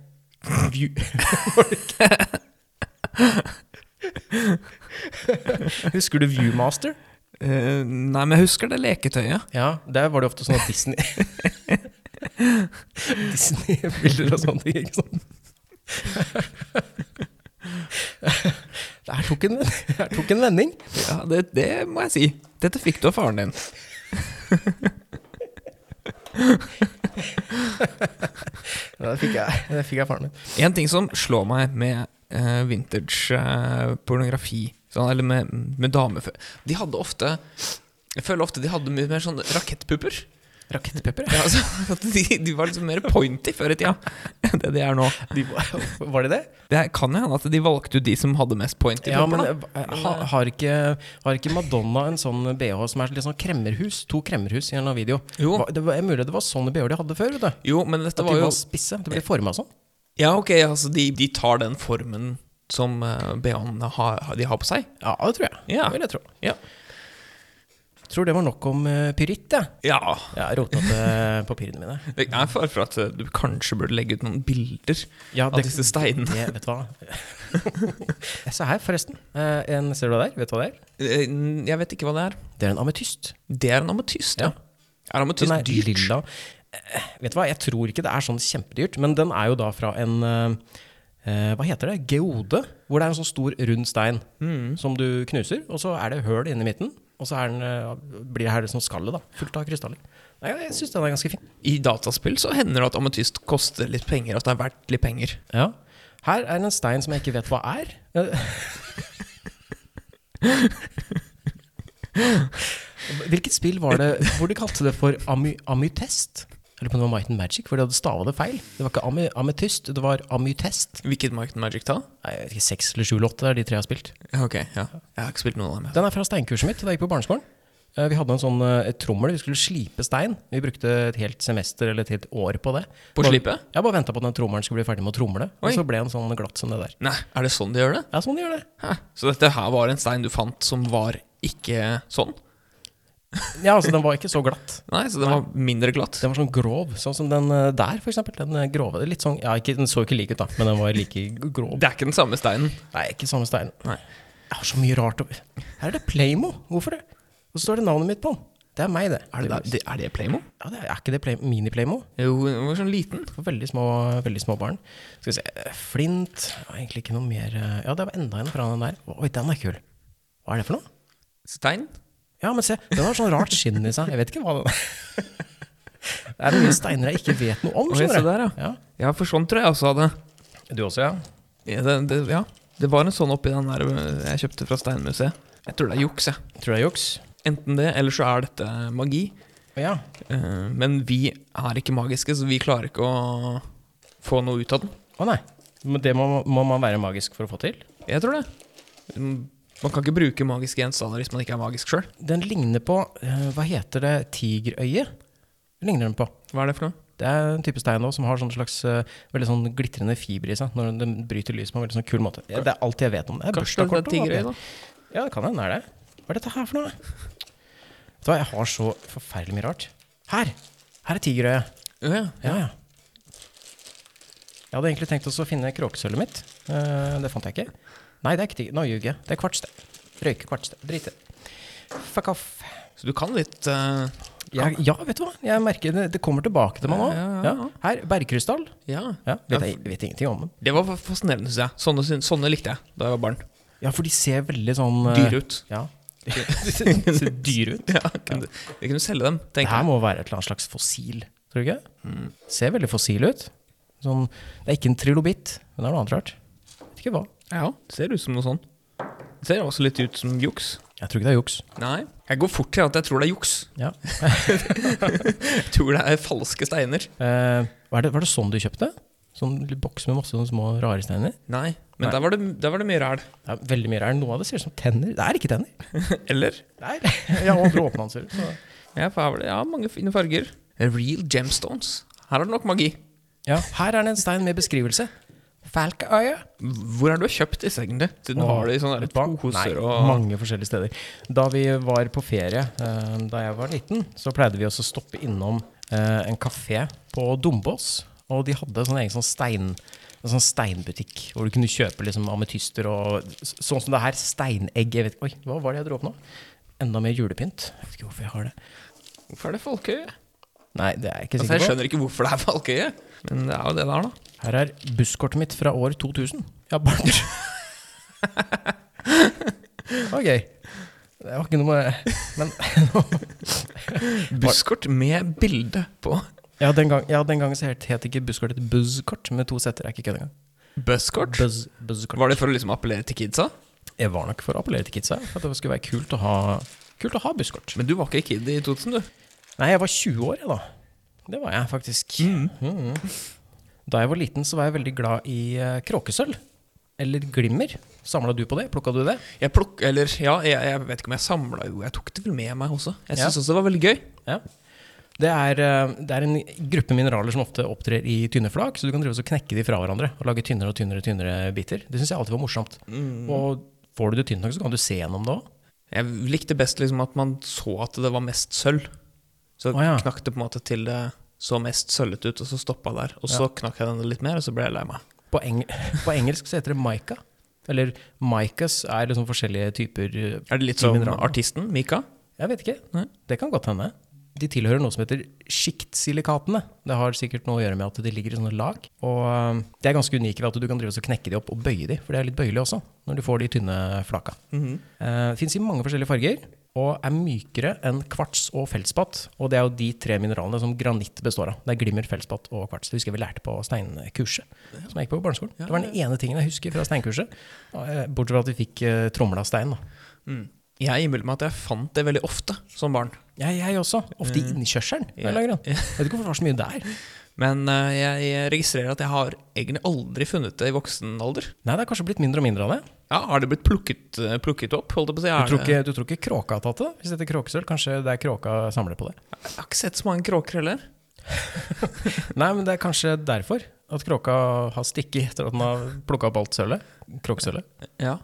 S2: View. Husker du Viewmaster?
S3: Eh, nei, men jeg husker det leketøyet.
S2: Ja, der var det ofte sånn at Disney Disney-bilder og sånne ting, ikke sant? Der tok en, der tok en vending.
S3: Ja, det, det må jeg si. Dette fikk du av faren din.
S2: Ja, det fikk jeg, det fikk jeg faren min.
S3: En ting som slår meg med eh, vintage eh, pornografi, sånn, eller med, med damefø... De hadde ofte Jeg føler ofte de hadde mye mer sånn rakettpupper.
S2: Rakettpepper?
S3: Ja, altså, at de, de var liksom mer pointy før i tida enn det de er nå.
S2: De var, var de det?
S3: Det kan jo hende at de valgte ut de som hadde mest pointy
S2: Ja,
S3: pupper.
S2: men
S3: da.
S2: eh, ha, har, ikke, har ikke Madonna en sånn BH som er litt sånn kremmerhus? To kremmerhus i en eller annen video.
S3: Jo.
S2: Hva- Det var, er mulig det var sånne BH de hadde før. vet du
S3: Jo, men dette
S2: At de
S3: var jo
S2: var spisse. Det ble forma sånn.
S3: Ja, ok, altså de, de tar den formen som eh, BH-ene har, de har på seg.
S2: Ja, det tror jeg.
S3: Ja.
S2: Det vil jeg tro.
S3: Ja.
S2: Tror det var nok om eh, pyritt, jeg.
S3: ja.
S2: Jeg har rotet til papirene mine.
S3: Det er fare for at eh, du kanskje burde legge ut noen bilder
S2: Ja,
S3: av disse steinene.
S2: det, vet du hva. Se her, forresten. Eh, en, ser du det der? Vet du hva det er?
S3: Eh, Jeg vet ikke hva det er.
S2: Det er en ametyst.
S3: Det er en ametyst, ja.
S2: Ja.
S3: Er
S2: Den
S3: ametyst
S2: er
S3: dyrt?
S2: lilla. Eh, Vet du hva, jeg tror ikke det er sånn kjempedyrt, men den er jo da fra en eh, eh, Hva heter det? Geode? Hvor det er en sånn stor, rund stein som du knuser, og så er det høl inni midten. Og så er den, eh, blir det her sånn skallet, da. Fullt av krystaller. Nei, jeg syns den er ganske fin.
S3: I dataspill så hender det at ametyst koster litt penger, at det er verdt litt penger.
S2: Ja. Her er en stein som jeg ikke vet hva er. Hvilket spill var det hvor de kalte det for amy amytest? Eller på det var Might and Magic, for de hadde stava det feil. Det var ikke amy ametyst, det var amytest.
S3: Hvilket Market Magic da?
S2: Nei, jeg vet ikke, Seks eller sju eller åtte er de tre jeg har spilt.
S3: Ja, Ok, ja. Jeg har ikke spilt noen av dem. jeg.
S2: Den er fra steinkurset mitt da jeg gikk på barneskolen. Eh, Vi hadde en sånn eh, et trommel, vi skulle slipe stein. Vi brukte et helt semester eller et helt år på det.
S3: På
S2: Bare-
S3: slipet?
S2: Jeg bare venta på at den trommelen skulle bli ferdig med å tromle.
S3: Oi.
S2: Og så ble den sånn glatt som det der.
S3: Nei, er det sånn de gjør det?
S2: Ja, sånn de gjør det.
S3: Hæ? Så dette her var en stein du fant som var ikke sånn?
S2: Ja, altså den var ikke så glatt.
S3: Nei, så den var mindre glatt?
S2: Den var sånn grov, sånn som den eh, der, for eksempel. Den eh, grove. Litt sånn, ja, ikke, den så ikke lik ut, da, men den var like grov.
S3: Det er ikke den samme steinen.
S2: Nei, ikke samme stein.
S3: Nei.
S2: Jeg har så mye rart over Her er det Playmo. Hvorfor det? Og så står det navnet mitt på den. Det er meg, det.
S3: Er det, det, er det Playmo?
S2: Ja, det er, er ikke det Play- mini-Playmo?
S3: Jo, den var sånn liten.
S2: For veldig små, veldig små barn. Skal vi se eh, Flint ja, Egentlig ikke noe mer eh, Ja, det var enda en fra den der. Oi, den er kul. Hva er det for noe?
S3: Stein?
S2: Ja, men se, den har sånn rart skinn i seg. Jeg vet ikke hva det er. Det er mye steiner jeg ikke vet noe om.
S3: Oi,
S2: skjønner
S3: se
S2: du.
S3: der, ja.
S2: ja.
S3: Ja, for sånn tror jeg også hadde.
S2: Du også, ja?
S3: Ja, det, det, ja. det var en sånn oppi den der øh, jeg kjøpte fra Steinmuseet. Jeg tror det er juks, jeg.
S2: Tror det er juks.
S3: Enten det, eller så er dette magi.
S2: Ja.
S3: Eh, Men vi er ikke magiske, så vi klarer ikke å få noe ut av den.
S2: Å nei. Men det må, må man være magisk for å få til?
S3: Jeg tror det. Mm, Man kan ikke bruke magiske gjenstander hvis man ikke er magisk sjøl.
S2: Den ligner på eh, Hva heter det? Tigerøye? Ligner den på.
S3: Hva er det for noe?
S2: Det er en type stein også, som har sånn slags eh, veldig sånn glitrende fiber i seg når den bryter lys på en veldig sånn kul måte. Ja, Det er alt jeg vet om det. det. er
S3: Kanskje det er
S2: bursdagskort og hva
S3: tigerøye,
S2: det
S3: da?
S2: heter. Ja, det kan hende det er det. Hva er dette her for noe? Vet du hva, jeg har så forferdelig mye rart. Her! Her er tigerøye.
S3: Ja, ja.
S2: Ja, ja. Jeg hadde egentlig tenkt også å finne kråkesølvet mitt. Eh, det fant jeg ikke. Nei, det er ikke tiger. Nå ljuger jeg. Det er kvarts, det. Røyke kvarts, det. Drit i det. Fuck off.
S3: Så du kan litt eh,
S2: Jeg, ja, vet du hva? Jeg merker det, det kommer tilbake til meg nå.
S3: Ja, ja,
S2: Ja.
S3: ja.
S2: Her, bergkrystall.
S3: Ja.
S2: Ja, vet, jeg vet ingenting om den.
S3: Det var fascinerende, syns jeg. Sånne, syn- sånne likte jeg da jeg var barn.
S2: Ja, for de ser veldig sånn eh,
S3: Dyre ut.
S2: Ja. De ser dyre ut.
S3: Ja, kunne, Vi kunne selge dem,
S2: Det her
S3: tenker jeg. Mm.
S2: må være et eller annet slags fossil, tror du ikke? Ser veldig fossil ut. Sånn, det er ikke en trilobitt, men det er noe annet rart. Vet ikke hva.
S3: Ja, det ser ut som noe sånn. Det ser også litt ut som juks.
S2: Jeg tror ikke det er juks.
S3: Nei. Jeg går fort til at jeg tror det er juks.
S2: Ja.
S3: Jeg tror det er falske steiner.
S2: Eh, var, det, var det sånn du kjøpte? Sånn lille boks med masse sånne små rare steiner?
S3: Nei,
S2: Nei.
S3: men Der, var det, der var det mye ræl.
S2: Det er veldig mye rart. Noe av det ser ut som tenner. Det er ikke tenner.
S3: Eller?
S2: Nei, jeg har aldri åpna den selv. så-
S3: Ja, for her var det ja, mange fine farger. Eh, Real gemstones. Her er det nok magi.
S2: Ja, her er det en stein med beskrivelse. Falkeøye.
S3: Hvor er det du har kjøpt disse, egentlig? Siden du har det i sånne der poser og
S2: Nei, mange forskjellige steder. Da vi var på ferie, eh, da jeg var liten, så pleide vi også å stoppe innom eh, en kafé på Dombås. Og de hadde sånn egen sånn stein, en sånn steinbutikk hvor du kunne kjøpe liksom ametyster og s- sånn som det her. Steinegg. Jeg vet, oi, hva var det jeg dro opp nå? Enda mer julepynt. Jeg vet ikke hvorfor jeg har det.
S3: Hvorfor er det folkeøye?
S2: Nei, det er jeg ikke
S3: Altså, jeg
S2: sikker på.
S3: skjønner ikke hvorfor det er folkeøye, men det er jo det det er, da.
S2: Her er busskortet mitt fra år 2000. Ja, barn. ok. Det var ikke noe med Men
S3: Busskort med bilde på.
S2: Ja, den, gang, ja, den gangen så het het ikke busskort et buzzkort med to setter. Jeg er ikke kødd engang.
S3: Busskort?
S2: Buzz, buzzkort.
S3: Var det for å liksom appellere til kidsa?
S2: Jeg var nok for å appellere til kidsa. For at det skulle være kult å ha, kult å ha busskort.
S3: Men du var ikke kid i 2000, du.
S2: Nei, jeg var 20 år, jeg, da. Det var jeg faktisk. Mhm. Da jeg var liten, så var jeg veldig glad i eh, kråkesølv. Eller glimmer. Samla du på det? Plukka du det?
S3: Jeg plukk... Eller, ja, jeg, jeg vet ikke om jeg samla jo Jeg tok det vel med meg også. Jeg
S2: Ja.
S3: syns også det var veldig gøy.
S2: Ja. Det er, eh, det er en gruppe mineraler som ofte opptrer i tynne flak, så du kan drive og så knekke de fra hverandre og lage tynnere og tynnere tynnere biter. Det syns jeg alltid var morsomt.
S3: Mm.
S2: Og får du det tynt nok, så kan du se gjennom det òg.
S3: Jeg likte best liksom at man så at det var mest sølv. Så
S2: Å, ja.
S3: knakk det på en måte til det så mest sølvete ut, og så stoppa der. Og så knakk jeg den litt mer, og så ble jeg lei meg.
S2: På, eng på engelsk så heter det mica. Eller micas er liksom forskjellige typer eh,
S3: Er det litt
S2: i
S3: sånn som
S2: mineraler.
S3: artisten Mika?
S2: Jeg vet ikke.
S3: Nei.
S2: Det kan godt hende. De tilhører noe som heter sjiktsilikatene. Det har sikkert noe å gjøre med at de ligger i sånne lag. Og eh, det er ganske unikt ved at du kan drive og så knekke de opp og bøye de, for det er litt bøyelig også når du får de tynne flaka.
S3: Mhm.
S2: Eh, Fins i mange forskjellige farger og er mykere enn kvarts og feltspat. Og det er jo de tre mineralene som granitt består av. Det er glimmer, feltspat og kvarts. Det husker jeg vi lærte på steinkurset som jeg gikk på på barneskolen.
S3: Ja,
S2: det var den ene tingen jeg husker fra steinkurset. eh, Bortsett fra at vi fikk eh, tromla stein. da.
S3: Jeg innbiller meg at jeg fant det veldig ofte som barn.
S2: Ja, jeg også. Ofte i innkjørselen. av en eller annen grunn. Mm. Jeg vet ikke hvorfor det var så mye der.
S3: Men eh, jeg registrerer at jeg har egentlig aldri funnet det i voksen alder.
S2: Nei, det er kanskje blitt mindre og mindre av det.
S3: Ja, Har det blitt plukket, eh, plukket opp? holdt jeg på å si?
S2: Du
S3: Er
S2: tror
S3: det-
S2: ikke, du tror ikke kråka har tatt det? Hvis dette er kråkesølv, kanskje det er kråka samler på det?
S3: Jeg har ikke sett så mange kråker heller.
S2: Nei, men det er kanskje derfor at kråka har stikket etter at den har plukka opp alt sølvet. Kråkesølvet.
S3: Ja.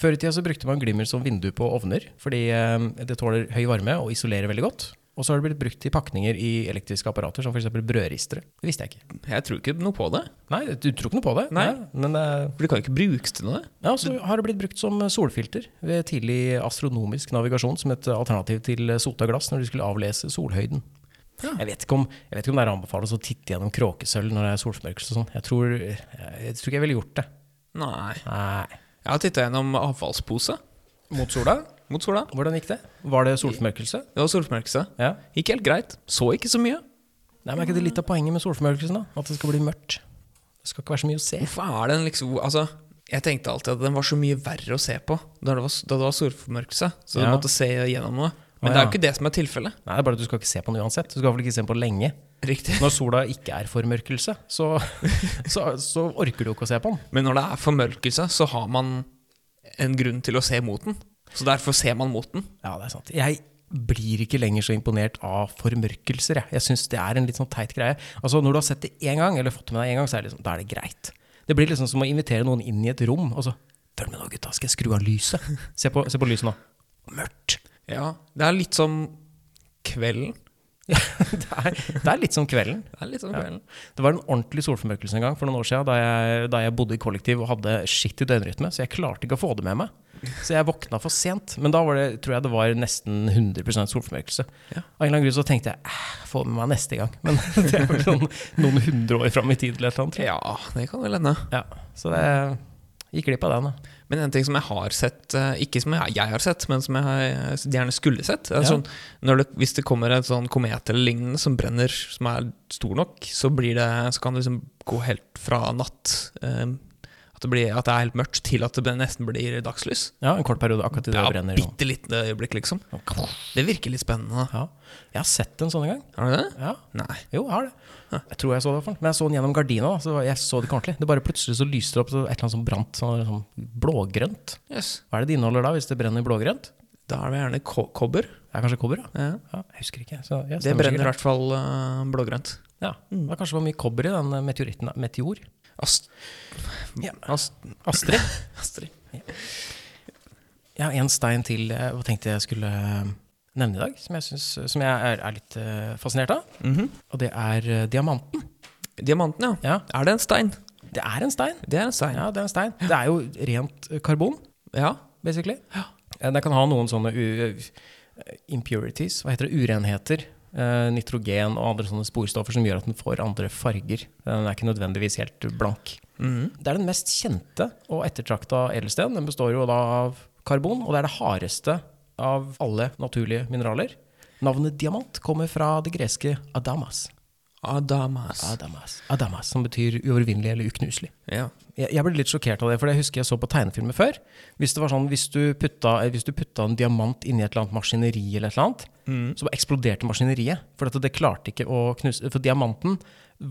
S2: Før i tida så brukte man glimmer som vindu på ovner, fordi eh, det tåler høy varme og isolerer veldig godt. Og så har det blitt brukt til pakninger i elektriske apparater, som f.eks. brødristere. Det visste jeg ikke.
S3: Jeg tror ikke noe på det.
S2: Nei, du tror ikke noe på det?
S3: Nei.
S2: men det er
S3: For det kan jo ikke brukes til noe.
S2: Ja, så har det blitt brukt som solfilter ved tidlig astronomisk navigasjon som et alternativ til sota glass når du skulle avlese solhøyden.
S3: Ja.
S2: Jeg, vet ikke om, jeg vet ikke om det er anbefalt å titte gjennom kråkesølv når det er solformørkelse og sånn. Jeg tror, jeg tror ikke jeg ville gjort det.
S3: Nei.
S2: Nei.
S3: Jeg har titta gjennom avfallspose
S2: Mot sola?
S3: mot sola.
S2: Hvordan gikk det? Var det solformørkelse?
S3: Det var solformørkelse.
S2: Ja.
S3: Gikk helt greit. Så ikke så mye.
S2: Nei, men Er ikke det litt av poenget med solformørkelsen? da? At det skal bli mørkt? Det skal ikke være så mye å se.
S3: Hvorfor er den liksom Altså, jeg tenkte alltid at den var så mye verre å se på da det var, da det var solformørkelse. Så du
S2: Ja.
S3: måtte se gjennom noe.
S2: Å,
S3: Men det er
S2: ja.
S3: jo ikke det som er tilfellet.
S2: Nei, det er bare at du skal ikke se på den uansett. Du skal i hvert fall ikke se den på lenge.
S3: Riktig.
S2: Når sola ikke er formørkelse, så, så, så orker du ikke å se på den.
S3: Men når det er formørkelse, så har man en grunn til å se mot den. Så derfor ser man mot den.
S2: Ja, det er sant. Jeg blir ikke lenger så imponert av formørkelser, jeg. Jeg syns det er en litt sånn teit greie. Altså, når du har sett det én gang, eller fått det med deg én gang, så er det, liksom, da er det greit. Det blir liksom som å invitere noen inn i et rom, og så Følg med nå, gutta, skal jeg skru av lyset? Se på, se på lyset nå. Mørkt.
S3: Ja, Det er litt som kvelden.
S2: Ja, det, er, det er litt som kvelden.
S3: Det er litt som kvelden.
S2: Det var en ordentlig solformørkelse en gang for noen år siden da jeg, da jeg bodde i kollektiv og hadde skitt i døgnrytme, så jeg klarte ikke å få det med meg. Så jeg våkna for sent. Men da var det, tror jeg det var nesten 100 solformørkelse.
S3: Ja.
S2: Av en eller annen grunn så tenkte jeg "Æh, få det med meg neste gang. Men det er vel noen, noen hundre år fram i tid eller et eller annet. tror jeg.
S3: Ja, det kan vel hende.
S2: Ja, så det gikk glipp av den. da.
S3: Men en ting som jeg har sett, eh, ikke som jeg, jeg har sett, men som jeg har- gjerne skulle sett det er
S2: Ja.
S3: sånn, når det, Hvis det kommer en sånn komet eller lignende som brenner, som er stor nok, så, blir det, så kan det liksom gå helt fra natt eh, at, det blir, at det er helt mørkt, til at det blir- nesten blir dagslys.
S2: Ja, en kort periode akkurat til det
S3: Ja,
S2: brenner. sånn.
S3: bitte lite øyeblikk, liksom. Det virker litt spennende.
S2: Ja. Jeg har sett en sånn en gang.
S3: Har du det?
S2: Ja.
S3: Nei.
S2: Jo, jeg har det. Jeg tror jeg så det, i hvert fall. Men jeg så den gjennom gardina. da, Så jeg så det ikke ordentlig. Det bare plutselig så lyste det opp så et eller annet som brant. Sånn, sånn blågrønt.
S3: Yes.
S2: Hva er det det inneholder da, hvis det brenner blågrønt?
S3: Da er det gjerne ko kobber.
S2: Det er kanskje kobber, ja.
S3: Ja.
S2: ja jeg husker ikke. Så, ja,
S3: Det
S2: stemmer
S3: brenner i
S2: sikkert.
S3: hvert fall eh, blågrønt.
S2: Ja. Det var kanskje for mye kobber i den eh, meteoritten. da. Meteor?
S3: Ast
S2: Ja.
S3: Ast
S2: Astrid?
S3: Astrid.
S2: Jeg har en stein til eh, hva tenkte jeg skulle eh, nevne i dag, som jeg, synes, som jeg er, er litt eh, fascinert av.
S3: Mhm.
S2: Og det er eh, diamanten.
S3: Diamanten, ja.
S2: Ja,
S3: Er det en stein?
S2: det er en stein.
S3: Det er en stein.
S2: Ja, det er en stein. Det er jo rent eh, karbon.
S3: Ja.
S2: basically. Eh, Den kan ha noen sånne u eh, impurities, hva heter det, urenheter. eh, nitrogen og andre sånne sporstoffer som gjør at den får andre farger. Eh, Den er ikke nødvendigvis helt blank.
S3: Mhm.
S2: Det er den mest kjente og ettertrakta edelsten. Den består jo da av karbon, og det er det hardeste av alle naturlige mineraler. Navnet diamant kommer fra det greske adamas.
S3: Adamas.
S2: Adamas, adamas som betyr uovervinnelig eller uknuselig.
S3: ja.
S2: Jeg, jeg ble litt sjokkert av det, for jeg husker jeg så på tegnefilmer før. Hvis det var sånn, hvis du putta, eh, hvis du putta en diamant inni et eller annet maskineri, eller et eller annet,
S3: Mm.
S2: så bare eksploderte maskineriet. For at det klarte ikke å knuse For diamanten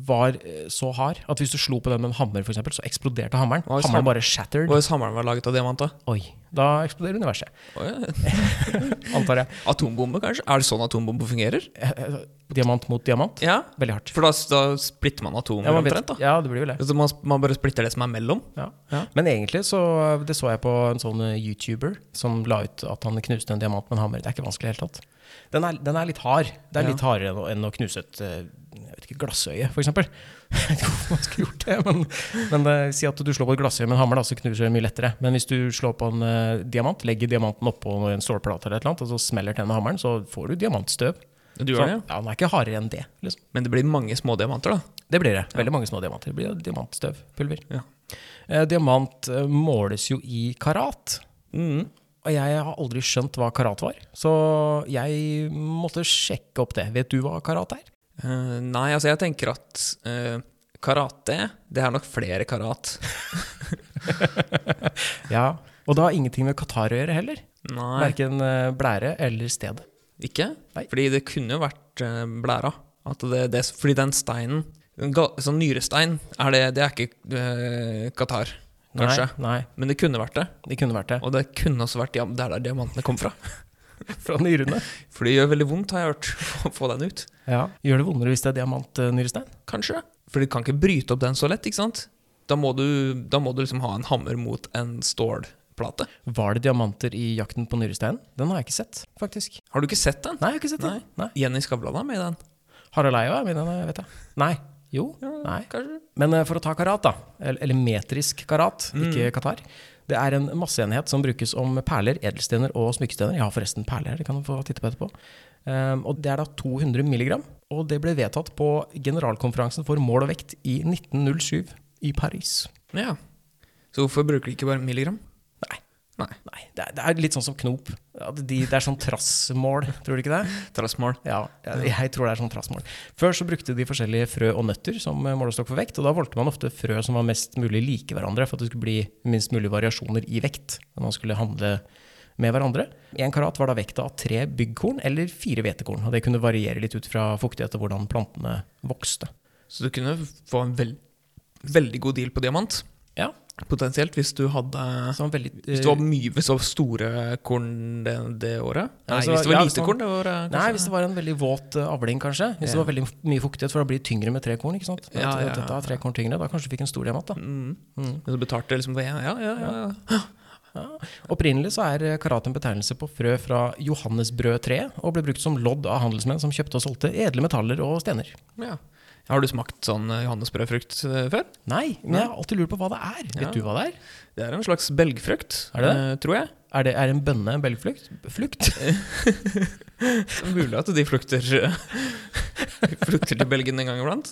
S2: var eh, så hard at hvis du slo på den med en hammer, for eksempel, så eksploderte hammeren.
S3: Oi,
S2: Hammeren
S3: sam-
S2: bare shattered.
S3: Og hvis hammeren var laget av diamant, da?
S2: Oi. Da eksploderer universet, antar jeg.
S3: Atombombe, kanskje? Er det sånn atombombe fungerer?
S2: Eh, eh, Diamant mot diamant.
S3: Ja.
S2: Veldig hardt.
S3: For da, da splitter man atomer
S2: Ja, man,
S3: omtrent,
S2: vet,
S3: da.
S2: ja, det blir vel det.
S3: Altså, man, man bare splitter det som er mellom.
S2: Ja.
S3: Ja.
S2: Men egentlig så Det så jeg på en sånn eh, YouTuber som la ut at han knuste en diamant med en hammer. Det er ikke vanskelig i det hele tatt. Den er, den er litt hard. Det er
S3: Ja.
S2: litt hardere enn å, enn å knuse et eh, jeg vet ikke, glassøye, f.eks. Jeg vet ikke hvorfor man skulle gjort det, men, men eh, si at du slår på et glassøye med en hammer, da, så knuser det mye lettere. Men hvis du slår på en eh, diamant, legger diamanten oppå en stålplate eller et eller annet, og så smeller den med hammeren, så får du diamantstøv.
S3: Du
S2: så,
S3: gjør det, ja.
S2: ja, den er ikke hardere enn det. Liksom.
S3: Men det blir mange små diamanter, da.
S2: Det blir det. Veldig mange små diamanter. Det blir jo diamantstøv. Pulver.
S3: Ja.
S2: Eh, diamant eh, måles jo i karat.
S3: Mm.
S2: Og jeg har aldri skjønt hva karat var, så jeg måtte sjekke opp det. Vet du hva karat er?
S3: Eh, nei, altså, jeg tenker at eh, karate, det er nok flere karat.
S2: Ja. Og det har ingenting med Qatar å gjøre heller.
S3: Nei,
S2: Verken eh, blære eller stedet.
S3: ikke?
S2: Nei.
S3: Fordi det kunne jo vært eh, blæra. At det, det, fordi den steinen, en ga, sånn nyrestein, er det, det er ikke eh, Qatar, kanskje.
S2: Nei,
S3: Men det kunne vært det.
S2: nei, det kunne vært det.
S3: Og det kunne også vært diam- det er der diamantene kom fra.
S2: Fra nyrene.
S3: For det gjør veldig vondt, har jeg hørt, å få den ut.
S2: Ja. Gjør det vondere hvis det er eh, diamantnyrestein?
S3: Kanskje. For du kan ikke bryte opp den så lett, ikke sant? Da må du, da må du liksom ha en hammer mot en stålplate.
S2: Var det diamanter i Jakten på nyresteinen? Den har jeg ikke sett, faktisk.
S3: Har du ikke sett den?
S2: Nei, jeg har ikke sett den. Nei.
S3: Jenny Skavlan er med i den.
S2: Harald Eia er med i den, vet jeg. Nei. Jo. Nei.
S3: Kanskje?
S2: Men eh, for å ta karat, da, eller, eller metrisk karat, ikke Qatar Det er en masseenhet som brukes om perler, edelstener og smykkestener. Jeg har forresten perler, det kan du få titte på etterpå. Ehm, og det er da 200 milligram, og det ble vedtatt på generalkonferansen for mål og vekt i 1907 i Paris.
S3: Ja. Så hvorfor bruker de ikke bare milligram?
S2: Nei,
S3: Nei.
S2: nei det, er, det er litt sånn som knop. At de, det er sånn trassmål, tror du ikke det?
S3: Trassmål.
S2: Ja, jeg, jeg tror det er sånn trassmål. Før så brukte de forskjellige frø og nøtter som eh, målestokk for vekt, og da valgte man ofte frø som var mest mulig like hverandre for at det skulle bli minst mulig variasjoner i vekt når man skulle handle med hverandre. Én karat var da vekta av tre byggkorn eller fire hvetekorn. Og det kunne variere litt ut fra fuktighet og hvordan plantene vokste.
S3: Så du kunne få en vel, veldig god deal på diamant,
S2: Ja,
S3: potensielt, hvis du hadde
S2: så han veldig,
S3: Hvis du var mye hvis du var store korn det, det året?
S2: Ja,
S3: Nei,
S2: så-
S3: hvis det var
S2: ja, hvis
S3: lite
S2: man-
S3: korn det året?
S2: Nei, hvis det var en veldig våt eh, avling, kanskje. Hvis det
S3: Ja.
S2: var veldig mye fuktighet, for da blir det tyngre med tre korn. ikke sant?
S3: Ja,
S2: At-
S3: ja,
S2: at Dette er tre korn tyngre, da kanskje du fikk en stor diamant. da.
S3: mm. Men så betalte jeg liksom for Ja, ja, ja. ja.
S2: Opprinnelig så er eh, karat en betegnelse på frø fra johannesbrødtreet, og ble brukt som lodd av handelsmenn som kjøpte og solgte edle metaller og stener.
S3: ja. Har du smakt sånn eh, johannesbrødfrukt eh, før?
S2: Nei, men jeg har alltid lurt på hva det er.
S3: Ja.
S2: Vet du hva det er?
S3: Det er en slags belgfrukt,
S2: Er det
S3: eh, tror jeg.
S2: Er det er en bønne en belgflukt? Flukt?
S3: Det er Mulig at de flukter eh, Flukter til Belgien en gang iblant.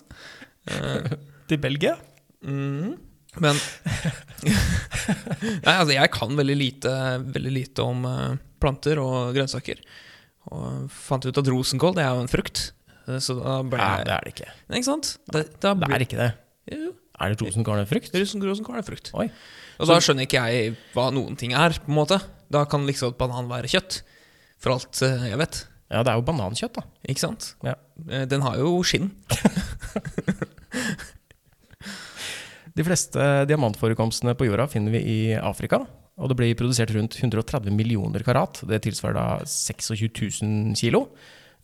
S3: Eh,
S2: Til Belgia?
S3: mm. Men Nei, altså, jeg kan veldig lite, veldig lite om eh, planter og grønnsaker. Og fant ut at rosenkål, det er jo en frukt. Eh, Så da ble
S2: Nei,
S3: jeg
S2: det er det ikke.
S3: Nei, ikke sant? Da, da
S2: Det
S3: blir,
S2: er ikke det.
S3: jo,
S2: Er det rosenkål en frukt?
S3: rosen, rosenkål er frukt.
S2: Oi.
S3: Og da skjønner ikke jeg hva noen ting er, på en måte. Da kan liksom banan være kjøtt, for alt eh, jeg vet.
S2: Ja, det er jo banankjøtt, da.
S3: Ikke sant?
S2: Ja.
S3: Eh, Den har jo skinn.
S2: De fleste diamantforekomstene på jorda finner vi i Afrika. Og det blir produsert rundt 130 millioner karat. Det tilsvarer da 26 000 kilo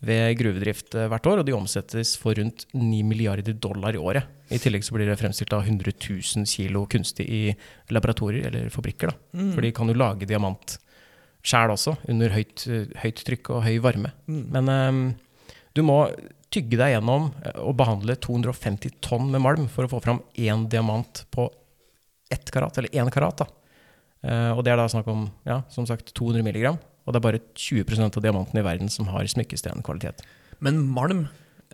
S2: ved gruvedrift eh, hvert år. Og de omsettes for rundt 9 milliarder dollar i året. I tillegg så blir det fremstilt av 100 000 kilo kunstig i laboratorier eller fabrikker. Da. For de kan jo lage diamant sjæl også, under høyt, eh, høyt trykk og høy varme. Men ehm, du må tygge deg gjennom eh, og behandle 250 tonn med malm for å få fram én diamant på ett karat, eller én karat. da. Eh, Og det er da snakk om ja, som sagt 200 milligram. Og det er bare 20 av diamantene i verden som har smykkestenkvalitet.
S3: Men malm,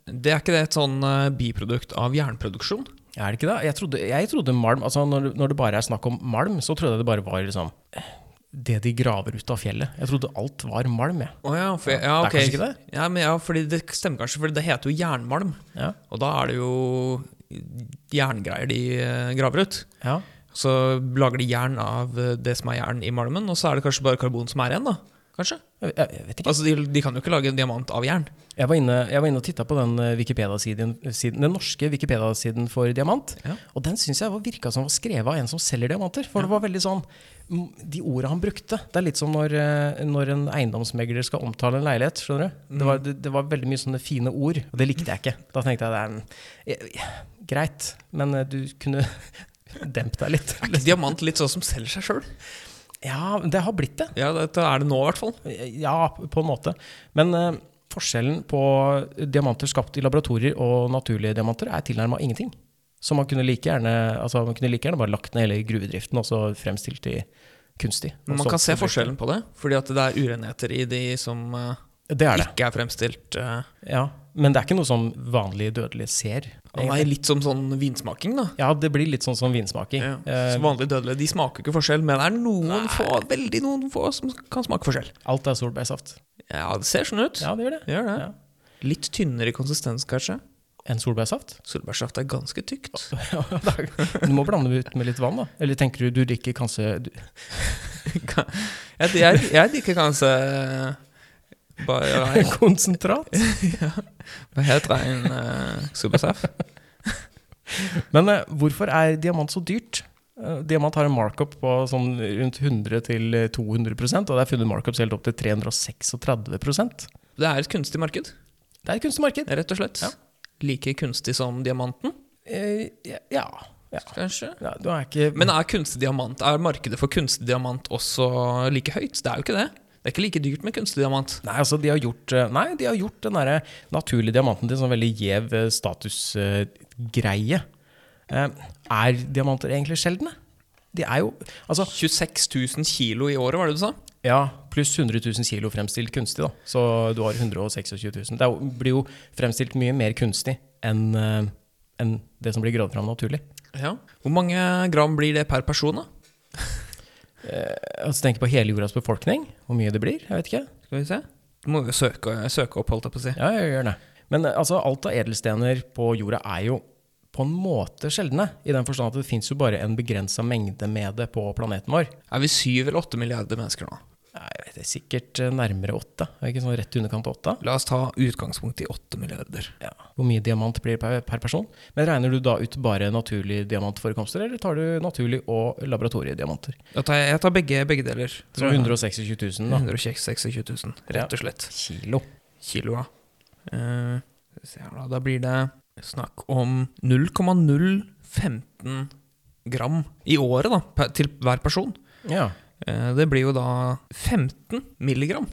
S3: det er ikke det et sånn eh, biprodukt av jernproduksjon?
S2: Er det ikke det? Jeg trodde, jeg trodde malm altså når, når det bare er snakk om malm, så trodde jeg det bare var liksom eh, det de graver ut av fjellet. Jeg trodde alt var malm, jeg.
S3: Å ja, for, ja,
S2: Det er
S3: ok.
S2: kanskje ikke det?
S3: Ja, men ja, fordi det stemmer kanskje, for det heter jo jernmalm.
S2: Ja.
S3: Og da er det jo jerngreier de eh, graver ut.
S2: ja.
S3: Så lager de jern av eh, det som er jern i malmen, og så er det kanskje bare karbon som er igjen, da. Kanskje?
S2: Jeg, jeg, jeg vet ikke.
S3: Altså, de, de kan jo ikke lage en diamant av jern.
S2: Jeg var inne, jeg var inne og titta på den, eh, Wikipedia-siden- siden, den norske Wikipedia-siden for diamant.
S3: Ja.
S2: Og den syns jeg var- virka som var skrevet av en som selger diamanter. For det var veldig sånn mm, De orda han brukte Det er litt som når, eh, når en eiendomsmegler skal omtale en leilighet. skjønner du? Det var, det, det var veldig mye sånne fine ord, og det likte jeg ikke. Da tenkte jeg det er en, eh, eh, greit, men eh, du kunne dempe deg litt.
S3: Er ikke diamant litt sånn som selger seg sjøl?
S2: Ja, men det har blitt det.
S3: Ja, dette er det nå, i hvert fall.
S2: Ja, på en måte. Men eh, forskjellen på diamanter skapt i laboratorier og naturlige diamanter er tilnærma ingenting. Så man kunne, like gjerne, altså man kunne like gjerne bare lagt ned hele gruvedriften og så fremstilt de kunstig.
S3: Men
S2: Og
S3: man
S2: så-
S3: kan se forskjellen på det, fordi at det er urenheter i de som eh,
S2: Det er det.
S3: ikke er fremstilt. eh,
S2: Ja. Men det er ikke noe som vanlige dødelige ser.
S3: av meg, litt som sånn vinsmaking, da.
S2: Ja, det blir litt sånn som vinsmaking.
S3: Ja.
S2: Eh,
S3: Så vanlige dødelige de smaker jo ikke forskjell, men det er noen få, veldig noen få som kan smake forskjell.
S2: alt er solbærsaft.
S3: Ja, det ser sånn ut.
S2: Ja, det gjør det.
S3: Gjør det.
S2: Ja.
S3: Litt tynnere i konsistens, kanskje.
S2: En solbærsaft?
S3: Solbærsaft er ganske tykt.
S2: Ja, det er- du må blande det ut med litt vann, da. Eller tenker du du drikker kanskje du,
S3: Jeg, jeg, jeg liker kanskje eh, bare nei,
S2: konsentrat?
S3: Hva heter det? En uh, solbærsaft?
S2: Men eh, hvorfor er diamant så dyrt? Eh, diamant har en markup på sånn rundt eh, 100-200 og det er funnet markups helt opp til 336
S3: Det er et kunstig marked,
S2: Det er et kunstig marked.
S3: rett og slett.
S2: Ja.
S3: Like kunstig som diamanten,
S2: Eh, ja. ja.
S3: kanskje.
S2: ja du er ikke
S3: Men er kunstig diamant, er markedet for kunstig diamant også like høyt? Det er jo ikke det. Det er ikke like dyrt med kunstig diamant.
S2: Nei, altså de har gjort, eh, nei, de har gjort den derre naturlige diamanten til en sånn veldig gjev eh, statusgreie. Eh, er diamanter egentlig sjeldne? De er jo Altså,
S3: 26 000 kilo i året, var det du sa?
S2: Ja, pluss 100 000 kilo fremstilt kunstig, da. Så du har 126 000. Det er jo- blir jo fremstilt mye mer kunstig enn eh, enn det som blir gravd fram naturlig.
S3: Ja. Hvor mange gram blir det per person, da?
S2: Altså tenk på hele jordas befolkning, hvor mye det blir. Jeg vet ikke.
S3: Skal vi se. Du må jo søke, søke opp, holdt jeg på å si.
S2: Ja, jeg gjør det. Men eh, altså, alt av edelstener på jorda er jo på en måte sjeldne, i den forstand at det fins jo bare en begrensa mengde med det på planeten vår.
S3: Er vi syv eller åtte milliarder mennesker nå?
S2: Nei, det er sikkert eh, nærmere åtte. Er det Ikke sånn rett i underkant av åtte.
S3: La oss ta utgangspunkt i 8 milliarder.
S2: Ja. Hvor mye diamant blir per, per person? Men regner du da ut bare naturlige diamantforekomster, eller tar du naturlig og laboratoriediamanter?
S3: Jeg tar, jeg tar begge, begge deler.
S2: Så 126 000 da.
S3: 126 000, rett og slett.
S2: Kilo.
S3: Kiloa. Eh, skal vi se her da. da blir det snakk om 0,015 gram i året, da, per- til hver person.
S2: Ja.
S3: Eh, Det blir jo da 15 milligram.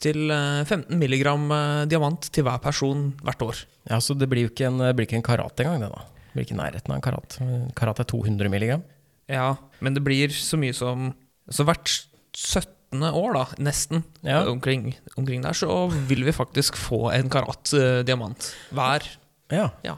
S3: Til eh, 15 milligram eh, diamant til hver person hvert år.
S2: ja, så det blir jo ikke en, det blir ikke en karat engang, det da. Det blir ikke i nærheten av en karat. En Karat er 200 milligram.
S3: Ja, men det blir så mye som Så hvert 17. år, da, nesten,
S2: Ja.
S3: omkring, omkring der, så vil vi faktisk få en karat eh, diamant hver.
S2: Ja.
S3: Ja.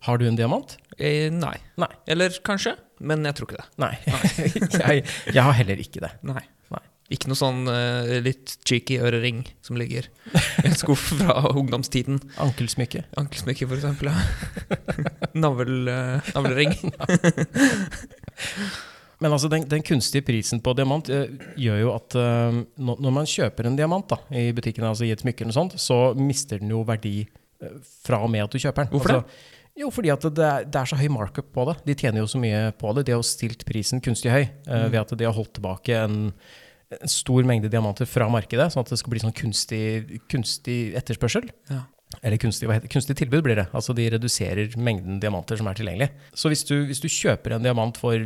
S2: Har du en diamant?
S3: Eh, nei.
S2: Nei.
S3: Eller kanskje, men jeg tror ikke det.
S2: Nei. jeg, jeg har heller ikke det.
S3: Nei.
S2: Nei.
S3: Ikke noe sånn eh, litt cheeky ørering som ligger i en skuff fra ungdomstiden.
S2: Ankelsmykke.
S3: Ankelsmykke, for eksempel. Ja. Navl, eh, navlering.
S2: Men altså, den, den kunstige prisen på diamant eh, gjør jo at eh, når, når man kjøper en diamant da, i butikken, altså i et smykke eller noe sånt, så mister den jo verdi eh, fra og med at du kjøper den.
S3: Hvorfor det?
S2: altså, Jo, fordi at det er, det er så høy markup på det. De tjener jo så mye på det. De har jo stilt prisen kunstig høy eh,
S3: Mm.
S2: ved at de har holdt tilbake en, en stor mengde diamanter fra markedet, sånn at det skal bli sånn kunstig, kunstig etterspørsel.
S3: Ja.
S2: Eller kunstig, hva heter, det? kunstig tilbud blir det. Altså de reduserer mengden diamanter som er tilgjengelig. Så hvis du, hvis du kjøper en diamant for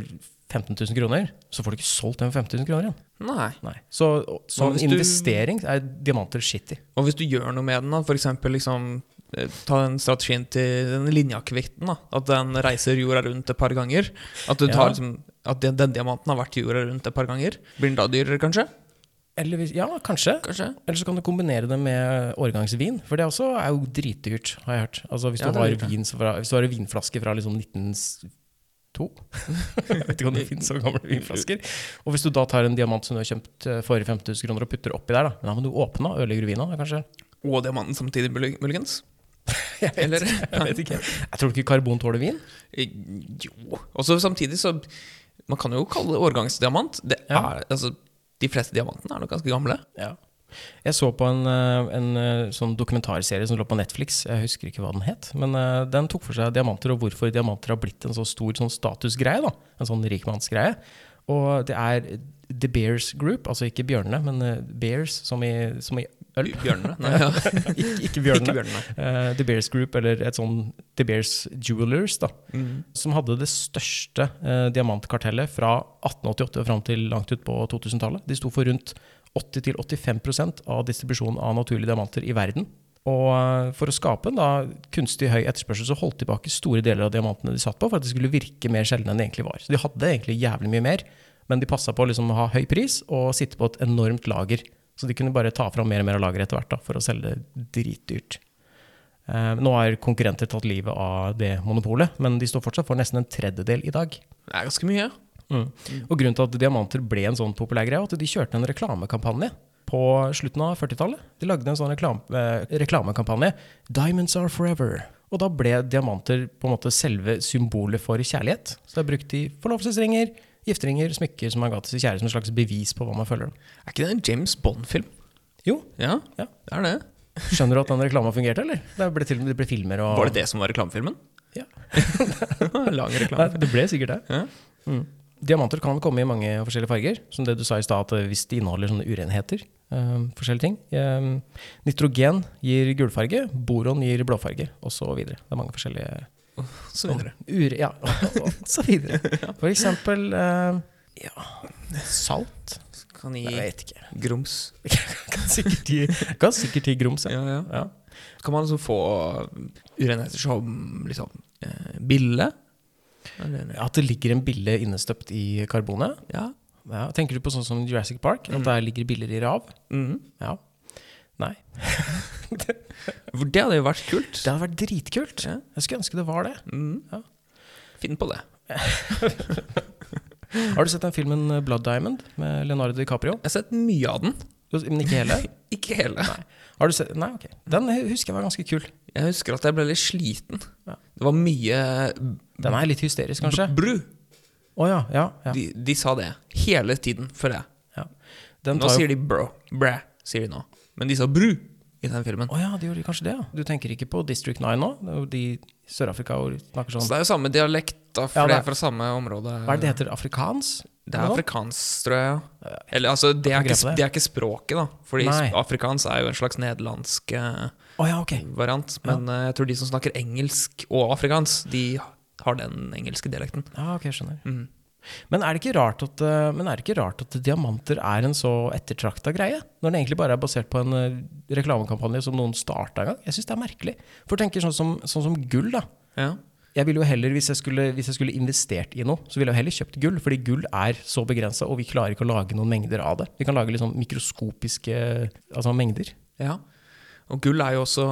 S2: 15 000 kroner, så får du ikke solgt den for 15 000 kroner igjen.
S3: Nei.
S2: Nei. Så og- som
S3: hvis du-
S2: investering er diamanter shitty.
S3: Og hvis du gjør noe med den, da, f.eks. Liksom, eh, ta den strategien til den linjakevitten, da, at den reiser jorda rundt et par ganger. At, du
S2: Ja.
S3: tar, liksom, at den, den diamanten har vært jorda rundt et par ganger. Blir den da dyrere, kanskje?
S2: Eller hvis, ja, kanskje.
S3: Kanskje?
S2: Eller så kan du kombinere det med årgangsvin, for det også er jo dritdyrt, har jeg hørt. Altså hvis,
S3: Ja,
S2: du
S3: det
S2: har
S3: er dyrt, ja.
S2: vin fra, hvis du har en vinflaske fra liksom 1902 Jeg vet ikke om det finnes så gamle vinflasker. Og hvis du da tar en diamant som du har kjøpt eh, for 5000 kroner og putter oppi der, da, men da må du åpne og ødelegge ruina, kanskje?
S3: Og diamanten samtidig, mul- muligens? Eller?
S2: Jeg vet ikke. Jeg tror ikke karbon tåler vin.
S3: Eh, Jo. Og så samtidig så Man kan jo kalle det årgangsdiamant. Det er,
S2: Ja.
S3: altså, de fleste diamantene er nok ganske gamle.
S2: Jeg så på en, eh, en eh, sånn dokumentarserie som lå på Netflix, jeg husker ikke hva den het, men eh, den tok for seg diamanter og hvorfor diamanter har blitt en så stor sånn statusgreie, da. En sånn rikmannsgreie. Og det er The Bears Group, altså ikke bjørnene, men eh, bears som i, som i øl.
S3: Bjørnene? Nei, ja.
S2: ikke, ikke
S3: ikke
S2: bjørnene.
S3: bjørnene.
S2: Eh, The Bears Group, eller et sånn The Bears Jewelers, da.
S3: Mm.
S2: som hadde det største eh, diamantkartellet fra 1888 og fram til langt ut på 2000-tallet. De sto for rundt 80-85 av distribusjonen av naturlige diamanter i verden. Og eh, for å skape en da, kunstig høy etterspørsel så holdt de tilbake store deler av diamantene de satt på, for at de skulle virke mer sjeldne enn de egentlig var. Så de hadde egentlig jævlig mye mer, men de passa på å liksom, ha høy pris og sitte på et enormt lager. Så de kunne bare ta fram mer og mer av lageret etter hvert da, for å selge det dritdyrt. Eh, Nå har konkurrenter tatt livet av det monopolet, men de står fortsatt for nesten en tredjedel i dag. Mm.
S3: Det er ganske mye. Mm.
S2: Og grunnen til at diamanter ble en sånn populær greie, var at de kjørte en reklamekampanje på slutten av 40-tallet. De lagde en sånn reklam, eh, reklamekampanje, 'Diamonds are forever'. Og da ble diamanter på en måte selve symbolet for kjærlighet. Så det er brukt i forlovelsesringer, gifteringer, smykker som man ga til sin kjære som et slags bevis på hva man føler.
S3: Er ikke det en James Bond-film?
S2: Jo,
S3: Ja,
S2: Ja.
S3: det er det.
S2: skjønner du at den reklama fungerte, eller? Det ble til og med det ble filmer og
S3: Var det det som var reklamefilmen?
S2: Ja.
S3: Lang
S2: Nei,
S3: reklame.
S2: det ble sikkert det.
S3: Ja.
S2: Mm. Diamanter kan komme i mange forskjellige farger, som det du sa i stad, at hvis de inneholder sånne urenheter, eh, forskjellige ting. Eh, nitrogen gir gulfarge, boron gir blåfarge, og så videre. Det er mange forskjellige
S3: Så videre.
S2: ure... Ja, og så videre. For eksempel eh, ja, salt.
S3: Kan
S2: Nei,
S3: gi
S2: jeg vet ikke.
S3: grums.
S2: Kan sikkert gi, kan sikkert gi grums, ja.
S3: Ja, ja.
S2: ja.
S3: Kan man liksom få urenheter som liksom eh, bille? Eller,
S2: At det ligger en bille innestøpt i karbonet.
S3: ja.
S2: Ja, tenker du på sånn som Jurassic Park,
S3: Mm.
S2: at der ligger biller i rav?
S3: Mhm.
S2: Ja. Nei.
S3: For det hadde jo vært kult.
S2: Det hadde vært dritkult.
S3: Ja.
S2: Jeg skulle ønske det var det.
S3: Mhm.
S2: Ja.
S3: Finn på det.
S2: Har du sett den filmen eh, Blood Diamond med Leonardo DiCaprio?
S3: Jeg har sett mye av den.
S2: Men ikke hele?
S3: Ikke hele.
S2: Har du sett? Nei, ok. Den husker jeg var ganske kul.
S3: Jeg husker at jeg ble litt sliten.
S2: Ja.
S3: Det var mye
S2: Den er litt hysterisk, kanskje.
S3: bru.
S2: Å ja, ja, ja.
S3: De, de sa det hele tiden, føler jeg.
S2: ja. Den
S3: Nå
S2: tar jo
S3: sier de bro. Bræ, sier de nå. Men de sa bru i den filmen.
S2: Å ja, de gjorde kanskje det, ja. Du tenker ikke på District 9 nå? Det er jo De Sør-Afrika og snakker
S3: Så
S2: sånn
S3: det er jo samme dialekt, da, for
S2: Ja,
S3: det
S2: det er-
S3: er fra samme område.
S2: Hva er det det heter? Afrikans?
S3: Det er afrikansk, tror jeg. ja. Eller altså, det er,
S2: Jeg kan greie
S3: ikke,
S2: på det.
S3: det er ikke språket, da. Fordi
S2: Nei.
S3: afrikansk er jo en slags nederlandsk eh,
S2: Å ja, ok.
S3: variant. Men eh, jeg tror de som snakker engelsk og afrikansk, de har den engelske dialekten.
S2: Ja, ok, skjønner.
S3: Mhm.
S2: Men er, det ikke rart at, eh, men er det ikke rart at diamanter er en så ettertrakta greie? Når den egentlig bare er basert på en eh, reklamekampanje som noen starta en gang? Jeg syns det er merkelig. For tenker sånn som, sånn som gull, da.
S3: Ja.
S2: Jeg ville jo heller, hvis jeg, skulle, hvis jeg skulle investert i noe, så ville jeg jo heller kjøpt gull. Fordi gull er så begrensa, og vi klarer ikke å lage noen mengder av det. Vi kan lage liksom mikroskopiske altså mengder.
S3: ja. Og gull er jo også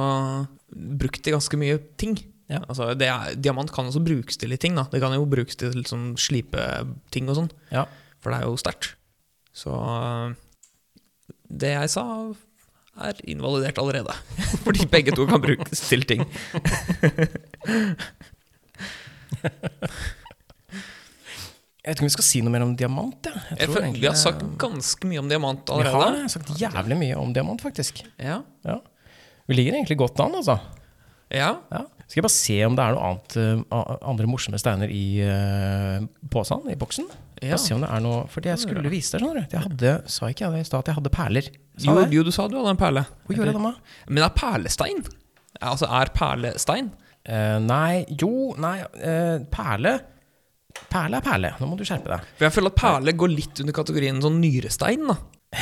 S3: brukt til ganske mye ting.
S2: Ja.
S3: Altså, det er, diamant kan også brukes til litt ting. da Det kan jo brukes til sånn slipeting og sånn,
S2: Ja.
S3: for det er jo sterkt. Så eh, det jeg sa, er invalidert allerede. Fordi begge to kan brukes til ting.
S2: Jeg vet ikke om vi skal si noe mer om diamant. Ja. Jeg
S3: Jeg
S2: tror
S3: føler
S2: egentlig-
S3: Vi har sagt ganske mye om diamant
S2: vi har
S3: allerede.
S2: sagt jævlig mye om diamant, faktisk.
S3: Ja.
S2: Ja. Vi ligger egentlig godt an, altså.
S3: ja.
S2: Ja. Skal jeg bare se om det er noe annet, eh, a- andre morsomme steiner i uh, posen, i boksen?
S3: Ja.
S2: Bare se om det er noe, Fordi jeg skulle vise deg, skjønner du. Jeg hadde, sa ikke jeg det i stad, at jeg hadde perler? Sa
S3: Jo,
S2: jeg det?
S3: jo, du sa du hadde en perle.
S2: Hvor gjorde jeg det, da?
S3: Men det er perlestein? Ja, Altså, er perlestein?
S2: Eh, nei, jo, nei eh, Perle Perle er perle, nå må du skjerpe deg.
S3: For jeg føler at perle går litt under kategorien sånn nyrestein, da.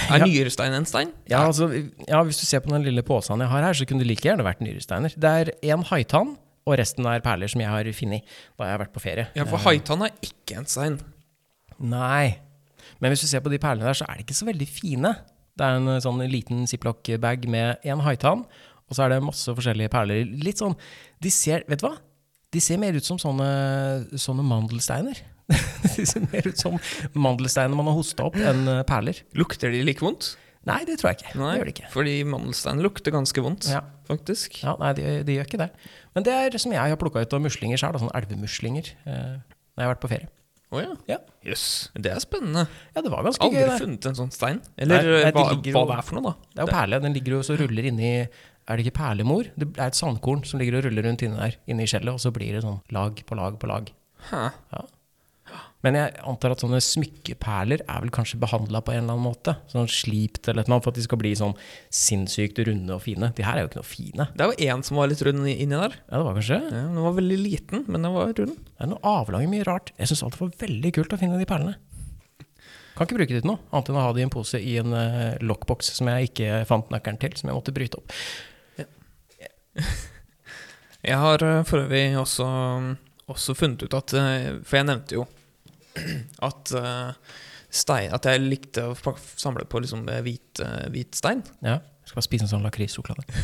S3: Er
S2: Ja.
S3: nyrestein en stein?
S2: Ja, altså, ja, Hvis du ser på den lille posen jeg har her, så kunne det like gjerne vært nyresteiner. Det er én haitann, og resten er perler som jeg har funnet da jeg har vært på ferie.
S3: Ja, for haitann er ikke en stein.
S2: Nei. Men hvis du ser på de perlene der, så er de ikke så veldig fine. Det er en eh, sånn liten ziplock-bag med én haitann, og så er det masse forskjellige perler. Litt sånn De ser Vet du hva? De ser mer ut som sånne, sånne mandelsteiner. de ser mer ut som mandelsteiner man har hosta opp, enn eh, perler.
S3: Lukter de like vondt?
S2: Nei, det tror jeg ikke. Det gjør de ikke.
S3: fordi mandelstein lukter ganske vondt,
S2: Ja.
S3: faktisk.
S2: Ja, nei, de, de gjør ikke det. Men det er som jeg har plukka ut av muslinger sjøl, sånn elvemuslinger, eh, når jeg har vært på ferie.
S3: Å ja.
S2: Ja.
S3: Jøs. Det er spennende.
S2: Ja, det var ganske
S3: Aldri
S2: gøy, det.
S3: funnet en sånn stein. Eller
S2: Nei, nei, de
S3: hva,
S2: ligger
S3: hva
S2: jo-
S3: det er for noe, da.
S2: Det er jo perle. Den ligger jo og så ruller inni Er det ikke perlemor? Det er et sandkorn som ligger og ruller rundt inni der, inni skjellet, og så blir det sånn lag på lag på lag.
S3: Hæ.
S2: Men jeg antar at sånne smykkeperler er vel kanskje behandla på en eller annen måte? Sånn slipt eller et eller annet, for at de skal bli sånn sinnssykt runde og fine. De her er jo ikke noe fine.
S3: Det er jo én som var litt rund i- inni der.
S2: Ja, det var kanskje
S3: Ja, Den var veldig liten, men den var rund.
S2: Det er noe avlange, mye rart. Jeg syns alltid det var veldig kult å finne de perlene. Kan ikke bruke det til noe, annet enn å ha det i en pose i en eh, lockbox som jeg ikke fant nøkkelen til, som jeg måtte bryte opp.
S3: Jeg har eh, for øvrig også, mm, også funnet ut at eh, For jeg nevnte jo at eh, stein At jeg likte å pak- samle på liksom eh, hvit, eh, hvit stein.
S2: Ja, jeg skal bare spise en sånn lakrissjokolade.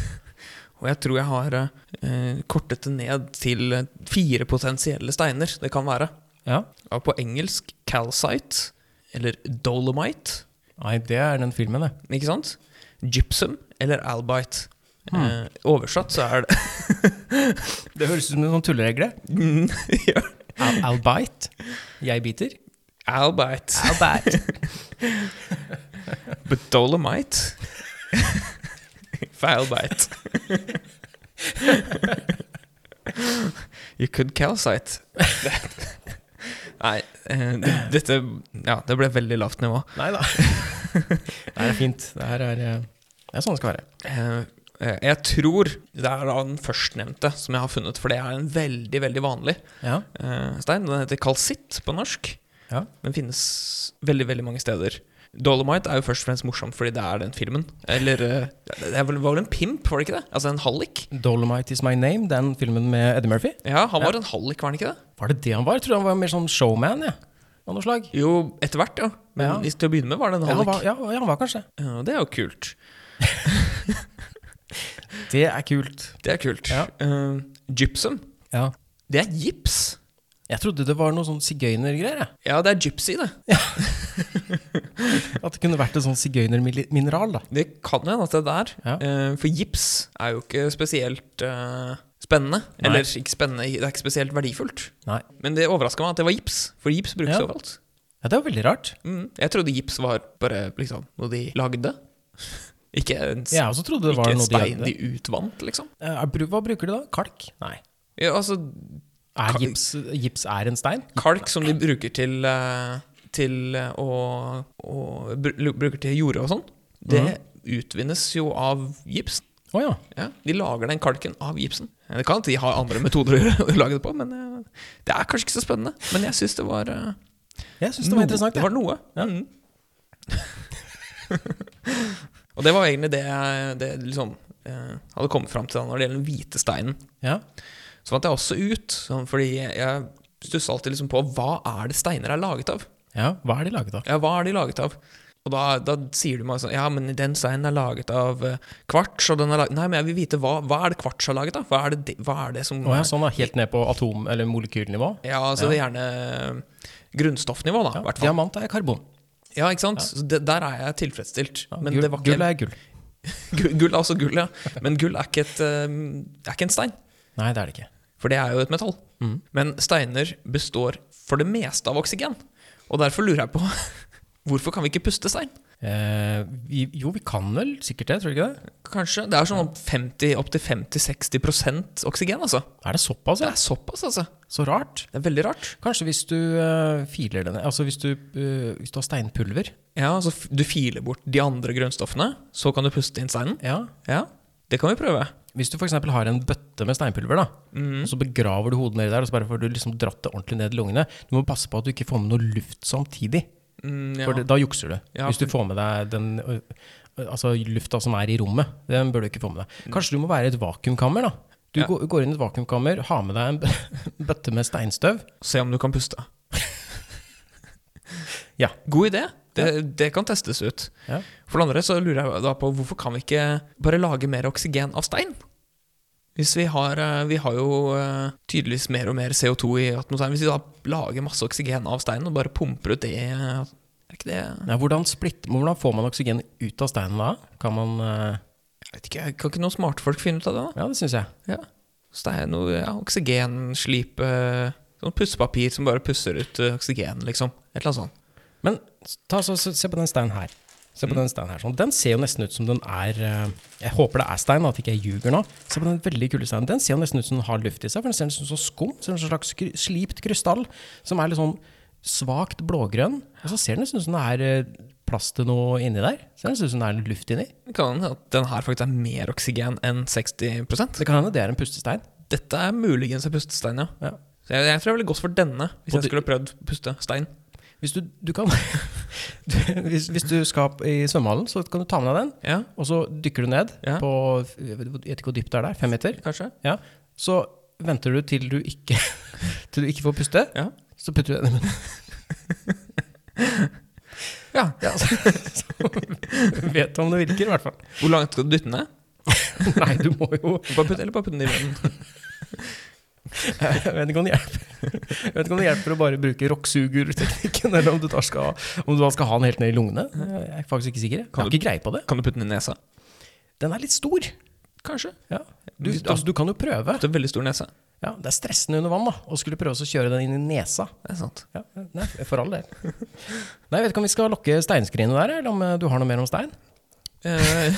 S3: Og jeg tror jeg har eh, kortet det ned til eh, fire potensielle steiner det kan være.
S2: Ja.
S3: Og på engelsk calcite, eller dolomite,
S2: Nei, det er den filmen, det.
S3: ikke sant? Gypsum eller albite. Eh, oversatt så er det
S2: Det høres ut som en sånn tulleregle.
S3: Mm, ja.
S2: Al Albite. Jeg biter.
S3: Albite.
S2: Albite.
S3: But Dolomite Filebite You could calcite Nei, eh, det- dette Ja, det ble veldig lavt nivå.
S2: Nei da. Det her er fint. Det her er, eh, det er sånn det skal være.
S3: Eh, eh, Jeg tror det er da den førstnevnte som jeg har funnet, for det er en veldig, veldig vanlig
S2: Ja.
S3: eh, stein. Den heter kalsitt på norsk.
S2: Ja.
S3: Den finnes veldig, veldig mange steder. Dolomite er jo først og fremst morsomt fordi det er den filmen. Eller eh, Det er vel- var vel en pimp, var det ikke det? Altså en hallik?
S2: Dolomite Is My Name, den filmen med Eddie Murphy.
S3: Ja, han var en hallik, var han ikke det?
S2: Var det det han var? Jeg trodde han var mer sånn showman. Ja. Av noe slag.
S3: Jo, etter hvert, ja. Men
S2: Ja.
S3: i- til å begynne med var det en
S2: Ja, han var,
S3: hallik.
S2: ja, ja, han var kanskje
S3: Ja, det er jo kult.
S2: Det er kult.
S3: Det er kult.
S2: Ja.
S3: Eh, gypsum.
S2: Ja.
S3: Det er gips.
S2: Jeg trodde det var noe sånn sigøynergreier. jeg.
S3: Ja, det er gypsy, det.
S2: At det kunne vært et sånn sigøynermineral. da.
S3: Det kan jo hende at det er der.
S2: Ja.
S3: Eh, for gips er jo ikke spesielt eh, spennende.
S2: Nei.
S3: Eller ikke spennende, det er ikke spesielt verdifullt.
S2: Nei.
S3: Men det overraska meg at det var gips, for gips brukes
S2: Ja.
S3: overalt.
S2: Ja, det var veldig rart.
S3: Mm. Jeg trodde gips var bare liksom, noe de lagde. Ikke, en, s-
S2: Jeg også trodde det var
S3: ikke
S2: noe de
S3: stein de,
S2: hadde.
S3: utvant, liksom.
S2: Eh, bru- Hva bruker de da? Kalk? Nei.
S3: Ja, altså,
S2: Er
S3: Kalk.
S2: gips, gips er en stein?
S3: kalk som de bruker til, eh, til eh, å, å bru- Bruker til jorde og sånn, det
S2: Mhm.
S3: utvinnes jo av gips.
S2: Å ja.
S3: Ja, de lager den kalken av gipsen. Det kan at de har andre metoder å gjøre- å lage det på, men eh, det er kanskje ikke så spennende. Men jeg syns det var eh,
S2: Jeg syns det var
S3: noe-
S2: interessant. Mm.
S3: Det
S2: jeg.
S3: var noe. Mm. og det var egentlig det jeg det liksom, eh, hadde kommet fram til da, når det gjelder den hvite steinen.
S2: Ja.
S3: Så fant jeg også ut, sånn, fordi jeg, jeg stussa alltid liksom på hva er det steiner er laget av?
S2: ja. Hva er de laget av?
S3: Ja, hva er de laget av? Og da, da sier du meg sånn Ja, men den steinen er laget av eh, kvarts, og den er laget Nei, men jeg vil vite hva, hva er det kvarts er laget av? Hva er det, det, hva er det som
S2: Å ja, sånn da. Helt ned på atom- eller molekylnivå?
S3: Ja, altså det er gjerne eh, grunnstoffnivå, da, i
S2: Ja.
S3: hvert fall.
S2: Diamant er karbon.
S3: Ja, ikke sant? Så det, der er jeg tilfredsstilt.
S2: Ja,
S3: men
S2: gull,
S3: det var ikke
S2: gull er gull.
S3: Gull, gull er også gull, ja. Men gull er ikke, et, eh, er ikke en stein,
S2: Nei, det er det ikke.
S3: for det er jo et metall.
S2: Mhm.
S3: Men steiner består for det meste av oksygen. Og derfor lurer jeg på Hvorfor kan vi ikke puste stein?
S2: Eh, vi, jo, vi kan vel sikkert det, tror du ikke det?
S3: Kanskje. Det er sånn opp 50 opptil 50-60 oksygen, altså.
S2: Er det såpass?
S3: Det
S2: Ja?
S3: er såpass, altså.
S2: Så rart.
S3: Det er veldig rart.
S2: Kanskje hvis du eh, filer det ned Altså hvis du, eh, hvis du har steinpulver.
S3: Ja, altså f- Du filer bort de andre grunnstoffene, så kan du puste inn steinen.
S2: Ja.
S3: Ja, det kan vi prøve.
S2: Hvis du f.eks. har en bøtte med steinpulver, da, og så begraver du hodet nedi der, og så bare får du liksom dratt det ordentlig ned i lungene Du må passe på at du ikke får med noe luft samtidig,
S3: Mm, ja.
S2: for det, da jukser du.
S3: Ja,
S2: hvis du får med deg den ø, ø, altså lufta som er i rommet, den bør du ikke få med deg. Kanskje du må være i et vakuumkammer, da. Du
S3: Mm. Ja.
S2: går, går inn i et vakuumkammer, har med deg en bø- bøtte med steinstøv.
S3: Se om du kan puste.
S2: Ja.
S3: God idé. Det, det kan testes ut.
S2: Ja.
S3: For det andre så lurer jeg da på hvorfor kan vi ikke bare lage mer oksygen av stein? Hvis vi har, eh, vi har jo eh, tydeligvis mer og mer CO2 i atmosfæren. Hvis vi da lager masse oksygen av steinen og bare pumper ut det eh, Er ikke det
S2: Nei, hvordan, splitt, hvordan får man oksygen ut av steinen da? Kan man eh,
S3: Jeg vet ikke, Kan ikke noen smartfolk finne ut av det? da?
S2: Ja, det syns jeg.
S3: Ja. Stein og ja, oksygenslipe Sånn pussepapir som bare pusser ut eh, oksygen, liksom. Et eller annet sånt.
S2: Men ta, så, så, se på den steinen her. Se på Den steinen her sånn. Den ser jo nesten ut som den er eh, Jeg håper det er stein, da, at ikke jeg ljuger nå. Se på den veldig kule steinen. Den ser jo nesten ut som den har luft i seg, for den ser nesten ut som skum. Ser ut som en slags kry- slipt krystall som er litt sånn svakt blågrønn. Og så ser den nesten ut som det er eh, plass til noe inni der. Ser nesten ut som det er luft inni.
S3: Det kan hende at den her faktisk er mer oksygen enn 60
S2: Det kan hende det er en pustestein.
S3: Dette er muligens en pustestein, ja.
S2: Ja.
S3: Så jeg, jeg tror jeg ville gått for denne hvis
S2: Og
S3: jeg
S2: du-
S3: skulle prøvd pustestein.
S2: Hvis du, du kan du, hvis, hvis du skal opp i svømmehallen, så kan du ta med deg den.
S3: Ja,
S2: Og så dykker du ned
S3: Ja.
S2: på Jeg vet ikke hvor dypt det er der, fem meter.
S3: kanskje?
S2: Ja. Så venter du til du ikke, til du ikke får puste.
S3: Ja.
S2: Så putter du den i munnen.
S3: Ja.
S2: Du Vet om det virker, i hvert fall.
S3: Hvor langt skal du dytte den ned?
S2: Nei, du må jo
S3: Bare putt, eller bare putte den i munnen?
S2: Jeg vet ikke om det hjelper, jeg vet ikke om det hjelper å bare bruke rocksugerteknikken, eller om du, tar skal, om du da skal ha den helt ned i lungene. Jeg er faktisk ikke sikker. Jeg
S3: Kan
S2: har
S3: du-
S2: ikke greie på det.
S3: Kan du putte den i nesa?
S2: Den er litt stor.
S3: Kanskje.
S2: Ja. Du, altså, du kan jo prøve.
S3: Du har veldig stor nese.
S2: Ja, det er stressende under vann da, å skulle prøve å kjøre den inn i nesa.
S3: Det er sant.
S2: Ja, nei, for all del. Nei, jeg vet ikke om vi skal lokke steinskrinet der, eller om eh, du har noe mer om stein?
S3: Eh,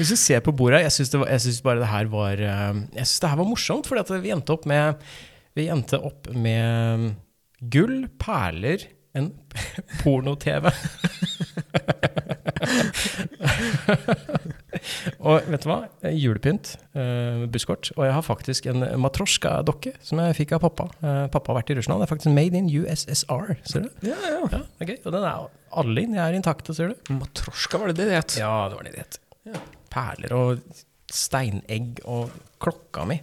S2: Hvis du ser på bordet her, jeg syns det var- jeg syns bare det her var eh, Jeg synes det her var morsomt, fordi at vi endte opp med Vi endte opp med eh, gull, perler, en porno-TV. og vet du hva? Julepynt, eh, busskort. Og jeg har faktisk en matrosjka-dokke som jeg fikk av pappa. Eh, pappa har vært i Russland. Det er faktisk made in USSR, ser du.
S3: ja, ja.
S2: Ja, det er gøy. Og den er alle inn, jeg er intakte, ser du.
S3: Matrosjka, var det det det het?
S2: Ja, det var det det het. Perler og steinegg og klokka mi.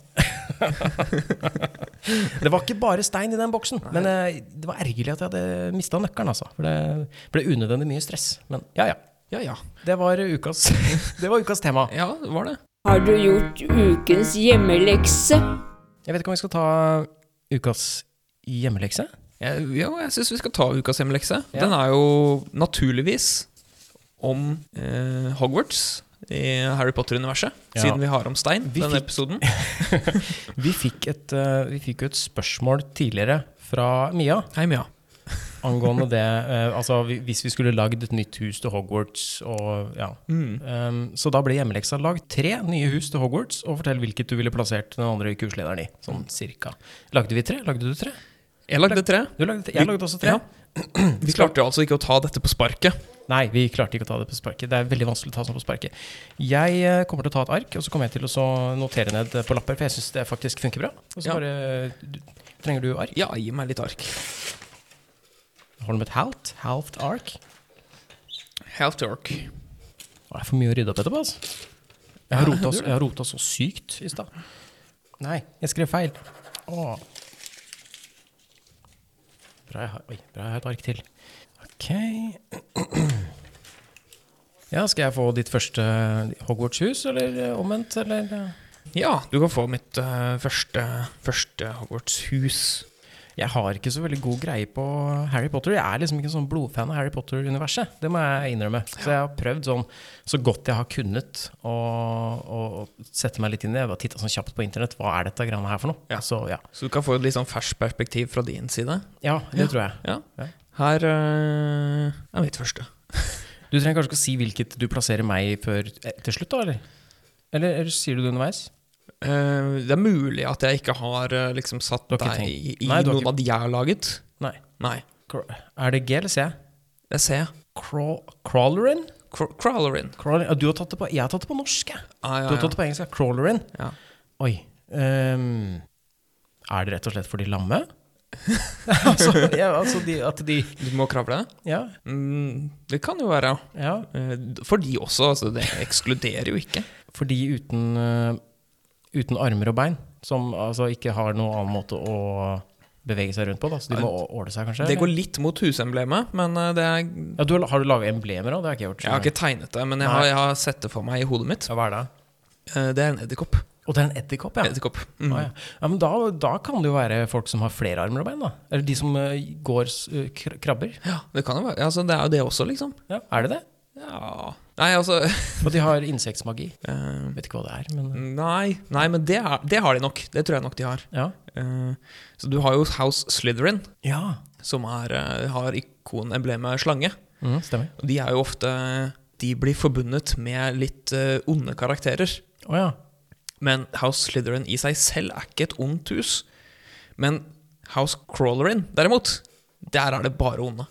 S2: det var ikke bare stein i den boksen, men eh, det var ergerlig at jeg hadde mista nøkkelen, altså. For det ble unødvendig mye stress. Men ja, ja.
S3: Ja, ja.
S2: Det var ukas, det var ukas tema.
S3: Ja, det var det.
S1: Har du gjort ukens hjemmelekse?
S2: Jeg vet ikke om vi skal ta ukas hjemmelekse?
S3: Jeg, ja, jeg syns vi skal ta ukas hjemmelekse.
S2: Ja.
S3: Den er jo naturligvis om eh, Hogwarts i Harry Potter-universet,
S2: Ja.
S3: siden vi har om stein
S2: Vi
S3: denne
S2: fikk-
S3: episoden.
S2: Vi fikk et, eh, vi fikk jo et spørsmål tidligere fra Mia.
S3: Hei, Mia.
S2: angående det eh, Altså vi- hvis vi skulle lagd et nytt hus til Hogwarts og ja.
S3: Mm.
S2: Um, så da ble hjemmeleksa lagd tre nye hus til Hogwarts, og fortell hvilket du ville plassert den andre kurslederen i. Sånn cirka. Lagde vi tre? Lagde du tre?
S3: Jeg lagde tre.
S2: Du lagde tre. Jeg lagde også tre.
S3: Ja. Vi klarte jo altså ikke å ta dette på sparket.
S2: Nei, vi klarte ikke å ta det på sparket. Det er veldig vanskelig å ta sånn på sparket. Jeg eh, kommer til å ta et ark, og så kommer jeg til å så notere ned på lapper, for jeg syns det faktisk funker bra. Og så
S3: Ja.
S2: bare du, Trenger du ark?
S3: Ja, gi meg litt ark.
S2: Har du med et halvt? Halvt ark?
S3: Half dork.
S2: Det er for mye å rydde opp etterpå, altså. Jeg har rota, jeg har rota så sykt i stad. Nei, jeg skrev feil. Åh. Bra jeg har, oi, bra jeg har et ark til. Ok. Ja, skal jeg få ditt første Hogwarts-hus, eller eh, omvendt, eller? eh?
S3: Ja, du kan få mitt eh, første, første Hogwarts-hus.
S2: Jeg har ikke så veldig god greie på Harry Potter. Jeg er liksom ikke en sånn blodfan av Harry Potter-universet. Det må jeg innrømme. Så jeg har prøvd sånn så godt jeg har kunnet å, å sette meg litt inn i det. Jeg bare titta sånn kjapt på internett. Hva er dette greiene her for noe?
S3: Ja.
S2: Så ja.
S3: Så du kan få et litt sånn ferskt perspektiv fra din side.
S2: Ja, det tror jeg.
S3: Ja.
S2: Ja.
S3: Her eh, er mitt første.
S2: Du trenger kanskje ikke å si hvilket du plasserer meg i før eh, til slutt, da, eller? Eller, eller sier du det underveis?
S3: Eh, det er mulig at jeg ikke har eh, liksom satt
S2: Du har
S3: deg
S2: ikke
S3: i, i
S2: Nei, du har
S3: noen av de jeg har laget.
S2: Nei.
S3: Nei.
S2: Cra- Er det G eller C?
S3: Det ser jeg.
S2: Craw crawlerin?
S3: Cra Crawlerin.
S2: Crawlerin? Ja, du har tatt det på Jeg har tatt det på norsk, jeg.
S3: Ah,
S2: Du har tatt det på engelsk. ja. Crawlerin.
S3: Ja.
S2: Oi. ehm, er det rett og slett for de lamme? altså, ja, altså de, at de
S3: Du må kravle?
S2: Ja.
S3: Mm, det kan jo være.
S2: ja.
S3: Eh, For de også, altså. Det ekskluderer jo ikke.
S2: For de uten, eh, uten armer og bein, som altså ikke har noen annen måte å bevege seg rundt på. Da. Så de må å- åle seg, kanskje?
S3: Det
S2: eller?
S3: går litt mot husemblemet, men eh, det er
S2: ja, du, har- har du laga emblemer òg? Det har ikke jeg gjort.
S3: Jeg har
S2: skjønner
S3: ikke tegnet det, men jeg har, jeg har sett det for meg i hodet mitt.
S2: jeg. Ja, Hva er det?
S3: Eh, Det er en edderkopp.
S2: Og det er en edderkopp, ja.
S3: Edderkopp. Mm.
S2: Ah, ja. ja men da, da kan det jo være folk som har flere armer og bein, da. Eller de som eh, går s- eh, kr- krabber.
S3: Ja, det kan jo være. Altså, det er jo det også, liksom.
S2: Ja, er det det?
S3: Ja Nei, altså
S2: Og de har insektmagi.
S3: eh,
S2: Vet ikke hva det er, men
S3: Nei, nei men det, er, det har de nok. Det tror jeg nok de har.
S2: ja.
S3: Eh, så du har jo House Slytherin,
S2: Ja,
S3: som er, eh, har ikonemblemet slange.
S2: mm, stemmer.
S3: Og de er jo ofte De blir forbundet med litt eh, onde karakterer.
S2: Å ja.
S3: Men House Slytherin i seg selv er ikke et ondt hus. Men House Crawlerin, derimot, der er det bare onde.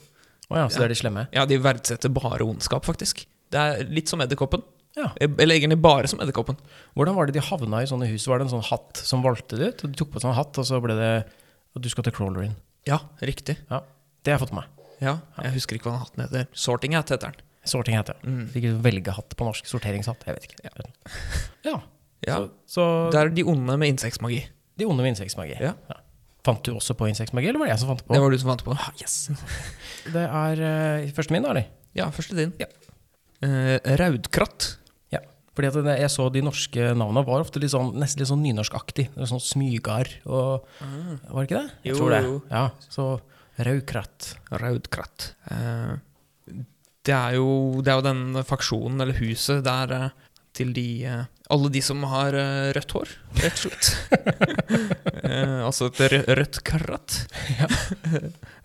S2: Å ja, så det er de slemme.
S3: Ja, de verdsetter bare ondskap, faktisk. Det er litt som Edderkoppen.
S2: Ja.
S3: Eller egentlig bare som Edderkoppen.
S2: Hvordan var det de havna i sånne hus? Var det en sånn hatt som valgte det ut? Og de tok på seg en hatt, og så ble det at du skal til crawler in.
S3: Ja, riktig.
S2: Ja, det har jeg fått med meg.
S3: Ja, Jeg husker ikke hva den hatten heter. Sorting Hat heter den.
S2: Sorting heter det. Mm. Ikke velgehatt på norsk. Sorteringshatt. Jeg vet ikke. Ja.
S3: Ja,
S2: Så,
S3: Det er de onde med insektmagi.
S2: de onde med insektmagi.
S3: Ja.
S2: Fant du også på insektmagi, eller var det jeg som fant det på?
S3: Det var du som fant på. Yes.
S2: Det er eh, første min, da, eller?
S3: Ja, første din.
S2: Ja.
S3: Eh, Raudkratt.
S2: Ja. Fordi at det- jeg så de norske navna var ofte litt sånn, nesten litt sånn nynorskaktig. Det var Sånn smygar og Var det ikke det? Jeg
S3: Jo,
S2: tror det.
S3: Ah. jo.
S2: Ja, så Raukratt.
S3: Raudkratt. Eh, det, er jo, det er jo den faksjonen, eller huset, der eh, til de eh, Alle de som har eh, rødt hår, rett og slett. Eh, altså et rø rødt kratt.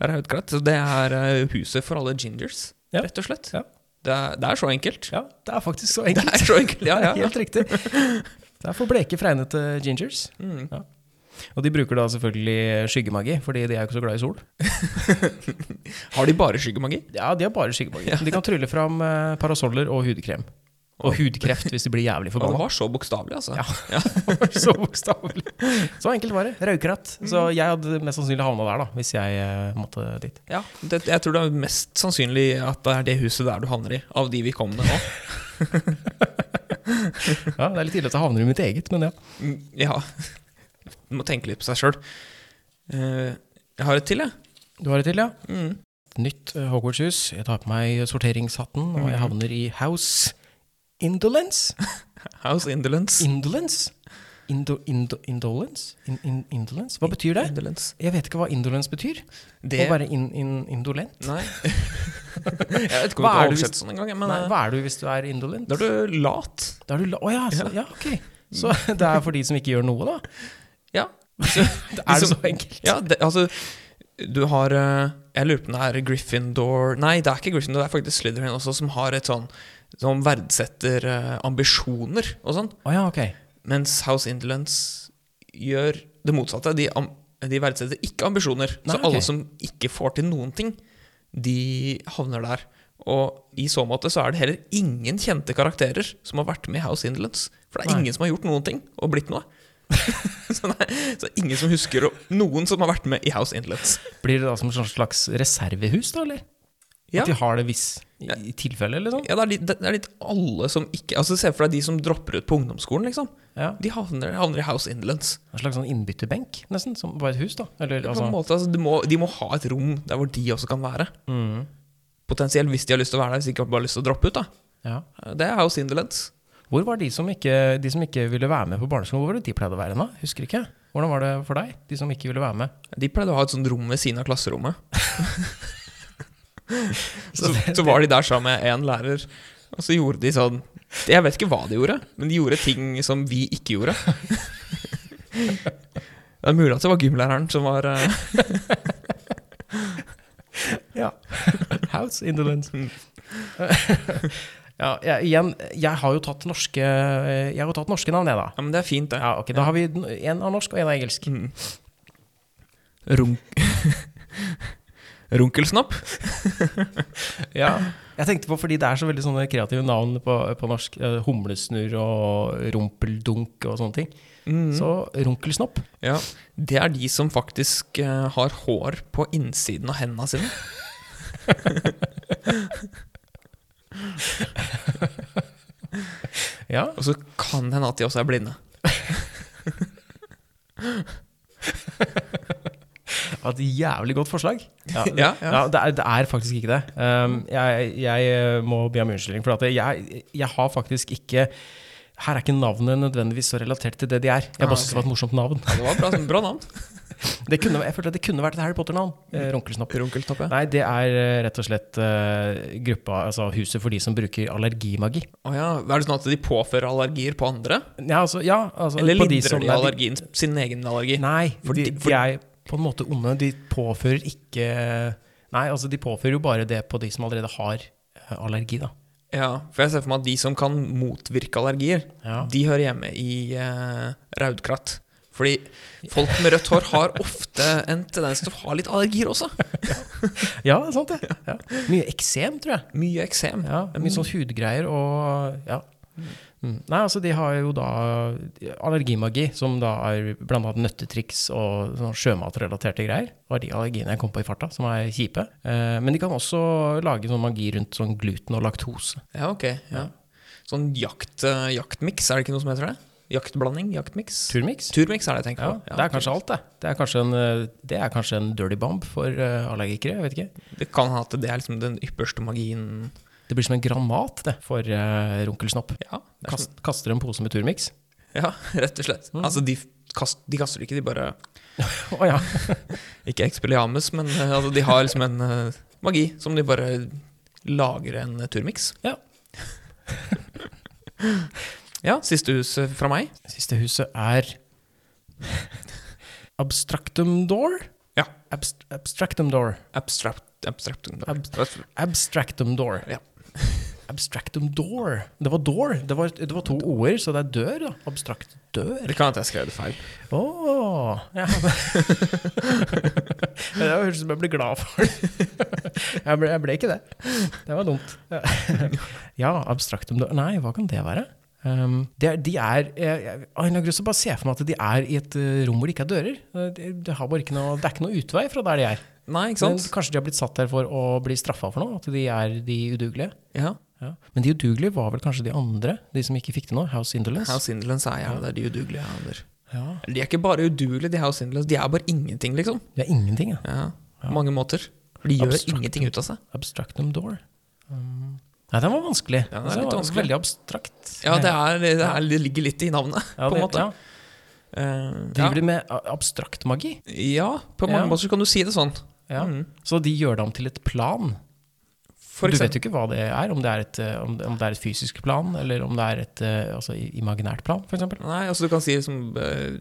S3: Raudkratt. Så det er eh, huset for alle gingers,
S2: Ja.
S3: rett og slett.
S2: Ja.
S3: Det, er, det er så enkelt.
S2: Ja, det er faktisk så
S3: Det
S2: enkelt.
S3: er så enkelt, ja, ja.
S2: Helt riktig. Det er for bleke, fregnete gingers.
S3: Mm.
S2: Og de bruker da selvfølgelig skyggemagi, fordi de er jo ikke så glad i sol.
S3: Har de bare skyggemagi?
S2: Ja, de har bare skyggemagi. De kan trylle fram eh, parasoller og hudkrem. Og hudkreft hvis de blir jævlig
S3: Og det
S2: forbanna.
S3: var så bokstavelig, altså.
S2: Ja. så bokstavelig. Så enkelt var det. Raukratt. Så
S3: Mm.
S2: jeg hadde mest sannsynlig havna der, da, hvis jeg eh, måtte dit.
S3: Ja, det, jeg tror det er mest sannsynlig at det er det huset der du havner i, av de vi kom med nå.
S2: Ja, Det er litt ille at jeg havner i mitt eget, men ja.
S3: Mm, Ja. Du må tenke litt på seg sjøl. jeg har et til, jeg.
S2: Du har det til, ja?
S3: Mm.
S2: Nytt eh, Hogwarts-hus. Jeg tar på meg sorteringshatten, og jeg havner i House Indolence.
S3: House Indolence.
S2: Indolence? Indo, indo, indolence? In, in, indolence? Hva betyr det?
S3: Indolence.
S2: Jeg vet ikke hva indolence betyr.
S3: Det
S2: Å være in, in, indolent?
S3: Nei. jeg vet ikke om
S2: Hva
S3: det
S2: er
S3: har
S2: du
S3: oversett
S2: hvis-
S3: sånn engang, men
S2: Nei,
S3: eh,
S2: hva er du hvis du er indolent?
S3: da er du lat.
S2: Da er du la... Å ja, så, ja, ok. Så det er for de som ikke gjør noe, da?
S3: Ja.
S2: Er det så enkelt?
S3: ja det, altså Du har eh, Jeg lurer på om det er Gryffindor Nei, det er ikke Gryffindor, det er faktisk Slytherin også, som har et sånn Som verdsetter eh, ambisjoner og sånn.
S2: Å ja, ok.
S3: Mens House Indolence gjør det motsatte. De, am de verdsetter ikke ambisjoner.
S2: Nei,
S3: så
S2: ok.
S3: alle som ikke får til noen ting, de havner der. Og i så måte så er det heller ingen kjente karakterer som har vært med i House Indolence. For det er
S2: Nei.
S3: ingen som har gjort noen ting og blitt noe. så, nei, så ingen som husker å- noen som har vært med i House Indolence.
S2: Blir det da som et sånt slags reservehus, da, eller?
S3: Ja.
S2: At de har det hvis i,
S3: Ja.
S2: i tilfelle, eller sånn?
S3: Ja, det, er litt, det er litt alle som ikke Altså Se for deg de som dropper ut på ungdomsskolen. liksom
S2: Ja.
S3: De havner, havner i House Indolence.
S2: En slags sånn innbytterbenk, nesten, som bare et hus, da? Eller
S3: På en
S2: altså
S3: måte, altså, de, må, de må ha et rom der hvor de også kan være.
S2: mm,
S3: Potensielt hvis de har lyst til å være der, hvis de ikke bare har lyst til å droppe ut. da
S2: Ja.
S3: Det er House Indolence.
S2: Hvor var de som ikke, de som ikke ville være med på barneskolen? Hvor var det de pleide å være da? Husker ikke. Hvordan var det for deg, de som ikke ville være med?
S3: De pleide å ha et sånt rom ved siden av klasserommet.
S2: Så
S3: så,
S2: det-
S3: så var de der sammen med én lærer, og så gjorde de sånn Jeg vet ikke hva de gjorde, men de gjorde ting som vi ikke gjorde. det er mulig at det var gymlæreren som var eh,
S2: Ja. House indolence. ja, jeg, igjen, jeg har jo tatt norske, jeg har jo tatt norske navn, jeg, da.
S3: Ja, men det er fint, det.
S2: Ja, ok, Da har vi den- en av norsk og en av engelsk.
S3: Mm. Runk... Runkelsnopp?
S2: Ja. Jeg tenkte på, fordi det er så veldig sånne kreative navn på, på norsk. eh, Humlesnurr og rumpeldunk og sånne ting.
S3: Mm.
S2: Så runkelsnopp.
S3: Ja, det er de som faktisk eh, har hår på innsiden av hendene sine.
S2: Ja.
S3: Og så kan det hende at de også er blinde.
S2: Et jævlig godt forslag. Ja,
S3: Ja, ja.
S2: Ja, det, er, det er faktisk ikke det. Um, jeg, jeg eh, må be om unnskyldning, for at jeg, jeg har faktisk ikke Her er ikke navnet nødvendigvis så relatert til det de er. Jeg
S3: Ah,
S2: bare synes det var et morsomt navn.
S3: Ja, det var bra, bra navn.
S2: Det kunne, jeg følte at det kunne vært et Harry Potter-navn. eh, Runkelsnopp.
S3: Runkeltoppe.
S2: Nei, det er eh, rett og slett eh, gruppa, altså huset for de som bruker allergimagi.
S3: Å ja, Er det sånn at de påfører allergier på andre?
S2: Ja, altså, ja, altså
S3: Eller
S2: på de
S3: lindrer de,
S2: som- nei, de-
S3: allergien sin egen allergi?
S2: Nei,
S3: For
S2: de,
S3: de-
S2: de
S3: for-
S2: er på en måte onde. De påfører ikke Nei, altså de påfører jo bare det på de som allerede har eh, allergi, da.
S3: Ja, for jeg ser for meg at de som kan motvirke allergier,
S2: Ja.
S3: de hører hjemme i eh, raudkratt. Fordi folk med rødt hår har ofte en tendens til å ha litt allergier også.
S2: Ja, det er sant det. Ja. Mye eksem, tror jeg.
S3: Mye eksem.
S2: Ja, mye sånn hudgreier og ja. Mm. Nei, altså de har jo da allergimagi, som da er blant annet nøttetriks og sånn sjømatrelaterte greier. Det var de allergiene jeg kom på i farta, som er kjipe. Eh, men de kan også lage sånn magi rundt sånn gluten og laktose.
S3: Ja, ok. Ja. Sånn jakt, eh, jaktmiks, er det ikke noe som heter det? Jaktblanding? Jaktmiks?
S2: Turmix.
S3: Turmiks er det jeg tenker
S2: Ja,
S3: på.
S2: det er kanskje alt, det. Det er kanskje en, eh, det er kanskje en dirty bomb for eh, allergikere, jeg vet ikke.
S3: Det kan hende at det er liksom den ypperste magien
S2: Det blir som en granat, det, for eh, runkelsnopp.
S3: Ja, det er som,
S2: Kast, Mm. kaster en pose med turmix.
S3: ja rett og slett. Altså, de, f- kast, de kaster det ikke, de bare
S2: Å ja.
S3: Ikke Expelliamus, men eh, altså, de har liksom en eh, magi som de bare lager en eh, turmiks.
S2: Ja.
S3: ja, siste hus eh, fra meg.
S2: Siste huset er Abstractum Door?
S3: Ja.
S2: Abst abstractum Door.
S3: Abstract, abstract,
S2: Abstractum Door.
S3: Ja.
S2: Abstractum Door. Det var door. Det var, det var to o-er, så det er dør, da. Abstrakt dør.
S3: Det kan hende jeg skrev det feil.
S2: Å! ja. det høres ut som jeg ble glad for det. Jeg ble, jeg ble ikke det. Det var dumt. Ja, abstraktum dør. Nei, hva kan det være? Um, det er, de er jeg, jeg, Av en eller annen grunn så bare ser jeg for meg at de er i et eh, rom hvor det ikke er dører. Eh, Det, det, har bare ikke noe, det er ikke noe utvei fra der de er.
S3: Nei, ikke
S2: Men
S3: sant?
S2: kanskje de har blitt satt der for å bli straffa for noe? At de er de udugelige?
S3: Ja.
S2: Ja. Men de udugelige var vel kanskje de andre? De som ikke fikk til noe? House Indolence?
S3: House Indolence er jeg, det er de udugelige jeg handler.
S2: Ja.
S3: Eller, De er ikke bare udugelige, de House Indolence. De er bare ingenting, liksom.
S2: Det er ingenting, ja.
S3: Ja, På mange måter. For de gjør
S2: Abstrakt.
S3: ingenting ut av seg.
S2: Abstractum door. Um, nei, den var vanskelig.
S3: Ja, den er
S2: Altså,
S3: litt
S2: var
S3: vanskelig.
S2: Veldig abstrakt.
S3: Ja, det, er, det, er, det ligger litt i navnet,
S2: Ja,
S3: på
S2: det-
S3: en måte.
S2: ja.
S3: Eh,
S2: Driver de med a- abstrakt magi?
S3: ja. ja, på mange
S2: Ja.
S3: måter så kan du si det sånn.
S2: Ja.
S3: Mm.
S2: Så de gjør det om til et plan?
S3: For
S2: du vet jo
S3: eksempel.
S2: ikke hva det er, om det er et, eh, om det, om det er et fysisk plan, eller om det er et eh, altså, i- imaginært plan, f.eks.
S3: Nei, altså du kan si liksom eh,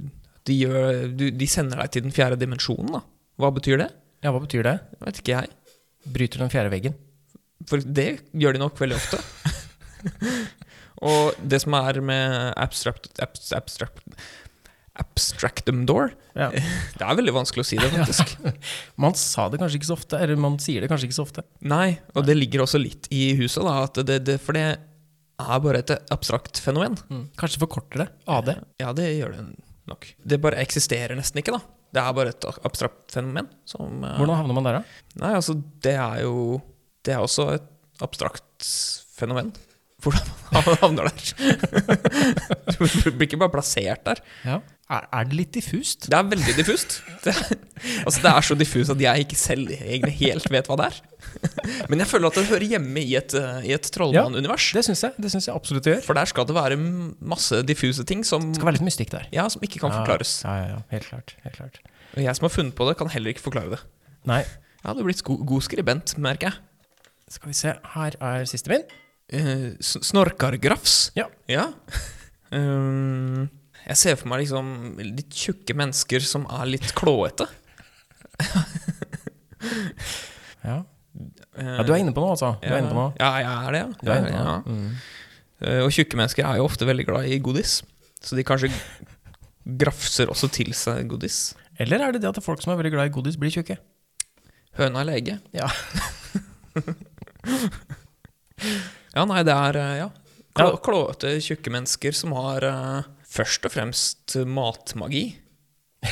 S3: de, gjør, du, de sender deg til den fjerde dimensjonen, da. Hva betyr det?
S2: Ja, hva betyr det?
S3: Vet ikke jeg.
S2: Bryter den fjerde veggen.
S3: For det gjør de nok veldig ofte. og det som er med abstract, abs- abstract, abstractum door
S2: Ja.
S3: Det er veldig vanskelig å si det, faktisk.
S2: Man sa det kanskje ikke så ofte, eller man sier det kanskje ikke så ofte.
S3: Nei, og det ligger også litt i huset, da, at det, det, for det er bare et abstrakt fenomen.
S2: Kanskje forkorter det. AD.
S3: Mm. Ja, det gjør det nok. Det bare eksisterer nesten ikke, da. Det er bare et abstrakt fenomen. Som, eh,
S2: Hvordan havner man der, da?
S3: Nei, altså, det er jo Det er også et abstrakt fenomen. Hvordan man havner der. Du blir ikke bare plassert der.
S2: Ja. Er, er det litt diffust?
S3: Det er veldig diffust. Det, altså, det er så diffust at jeg ikke selv egentlig helt vet hva det er. Men jeg føler at det hører hjemme i et, eh, i et trollmannunivers.
S2: Det syns jeg. Det syns jeg absolutt det gjør.
S3: For der skal det være m- masse diffuse ting som,
S2: Det skal være Ah. litt mystikk der.
S3: ja, som ikke kan forklares.
S2: Ja, ja, ja. Helt klart. Helt klart.
S3: Og jeg som har funnet på det, kan heller ikke forklare det.
S2: Nei,
S3: Jeg hadde blitt go god skribent, merker jeg.
S2: skal vi se. Her er siste min.
S3: Eh, s- snorkargrafs.
S2: Ja.
S3: Ja. Ehm, jeg ser for meg liksom litt tjukke mennesker som er litt klåete.
S2: Ja.
S3: Eh,
S2: ja du er inne på noe, altså. Du er inne på noe.
S3: Ja, jeg er det, ja.
S2: Du er inne på
S3: ja.
S2: noe. Mm.
S3: Eh, Og tjukke mennesker er jo ofte veldig glad i godis, så de kanskje grafser også til seg godis.
S2: Eller er det det at folk som er veldig glad i godis, blir tjukke?
S3: Høna er lege.
S2: Ja.
S3: Ja, nei, det er eh,
S2: Ja.
S3: ja. Klå, klåete, tjukke mennesker som har eh, først og fremst matmagi.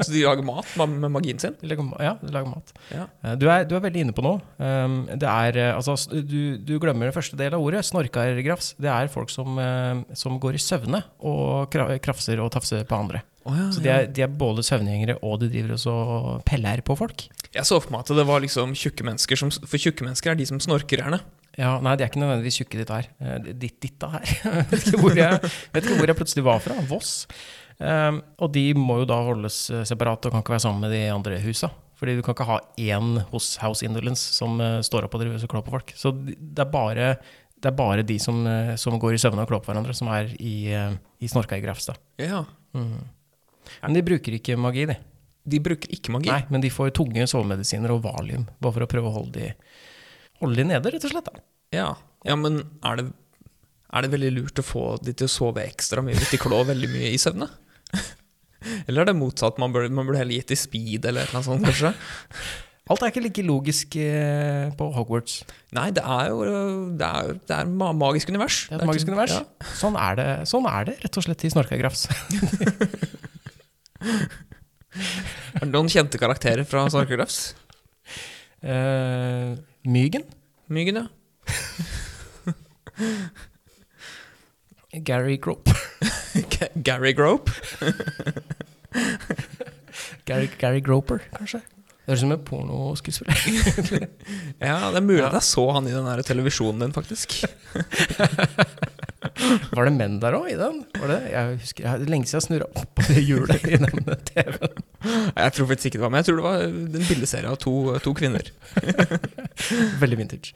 S3: så de lager mat ma- med magien sin.
S2: De lager, ma- ja, de lager mat.
S3: Ja.
S2: Eh, Du er, du er veldig inne på noe. Um, det er, eh, altså, s- du, du glemmer den første delen av ordet, snorkargrafs. Det er folk som, eh, som går i søvne og kra- krafser og tafser på andre. Så de er, de er både søvngjengere og de driver også og peller på folk.
S3: Jeg så for meg at det var liksom tjukke mennesker som For tjukke mennesker er de som snorker, gjerne.
S2: Ja, Nei, de er ikke nødvendigvis tjukke, ditt her. Eh, Ditt, ditt her. Jeg vet, ikke hvor jeg, vet ikke hvor jeg plutselig var fra. Voss. Um, og de må jo da holdes eh, separat og kan ikke være sammen med de andre husa. Fordi du kan ikke ha én hos House Indolence som eh, står opp og driver og klår på folk. Så de- det er bare, det er bare de som, eh, som går i søvne og klår på hverandre, som er i, uh, i snorka i Grafstad.
S3: Ja.
S2: Men de bruker ikke magi, de.
S3: De bruker ikke magi.
S2: Nei, men de får tunge sovemedisiner og valium, bare for å prøve å holde de, holde de nede, rett og slett. Da.
S3: Ja. ja, men er det, er det veldig lurt å få de til å sove ekstra mye hvis de klår veldig mye i søvne? Eller er det motsatt? Man burde, man burde heller gitt de speed eller noe sånt, kanskje?
S2: Alt er ikke like logisk eh, på Hogwarts.
S3: Nei, det er jo Det er, det er ma- magisk univers.
S2: Det er et magisk
S3: ikke-
S2: univers.
S3: Ja.
S2: Sånn, er det, sånn er det rett og slett i Snorkagrafs.
S3: Er det noen kjente karakterer fra Sarkographs?
S2: Eh, Mygen,
S3: Myggen, ja.
S2: Gary Grope.
S3: Ga- Gary Grope.
S2: Gary, Gary Groper, kanskje. Det høres ut som en pornoskuespiller.
S3: Ja, det er mulig at jeg så han i den der televisjonen din, faktisk.
S2: Var det menn der òg, i den? Var det? Jeg husker, jeg, det er lenge siden jeg snurra opp på det hjulet i den TV-en.
S3: Nei, Jeg tror faktisk ikke det var, men jeg tror det var en bildeserie av to, to kvinner.
S2: Veldig vintage.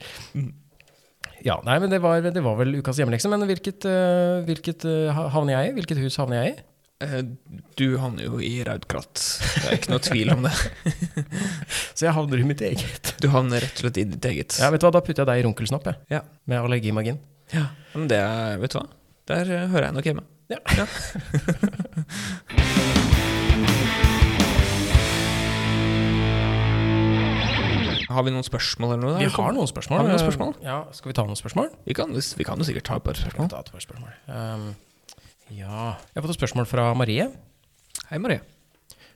S2: Ja, nei, men det var, det var vel ukas hjemmelekse. Men hvilket, eh, hvilket eh, ha- havner jeg i? Hvilket hus havner jeg i?
S3: Eh, Du havner jo i Raudkratt. Det er ikke noe tvil om det.
S2: Så jeg havner i mitt eget.
S3: Du havner rett og slett i ditt eget.
S2: Ja, vet du hva, Da putter jeg deg i runkelsnopp, jeg.
S3: Ja.
S2: Med allergimagin.
S3: Ja, Men det er- Vet du hva? Der eh, hører jeg nok hjemme.
S2: Ja.
S3: Har vi noen spørsmål eller noe?
S2: Vi har noen spørsmål. Eh,
S3: Har vi noen spørsmål?
S2: Ja, skal vi ta noen spørsmål?
S3: Vi kan, vi kan jo sikkert ta et par spørsmål.
S2: Ta et par spørsmål. Um, ja Jeg har fått et spørsmål fra Marie.
S3: Hei, Marie.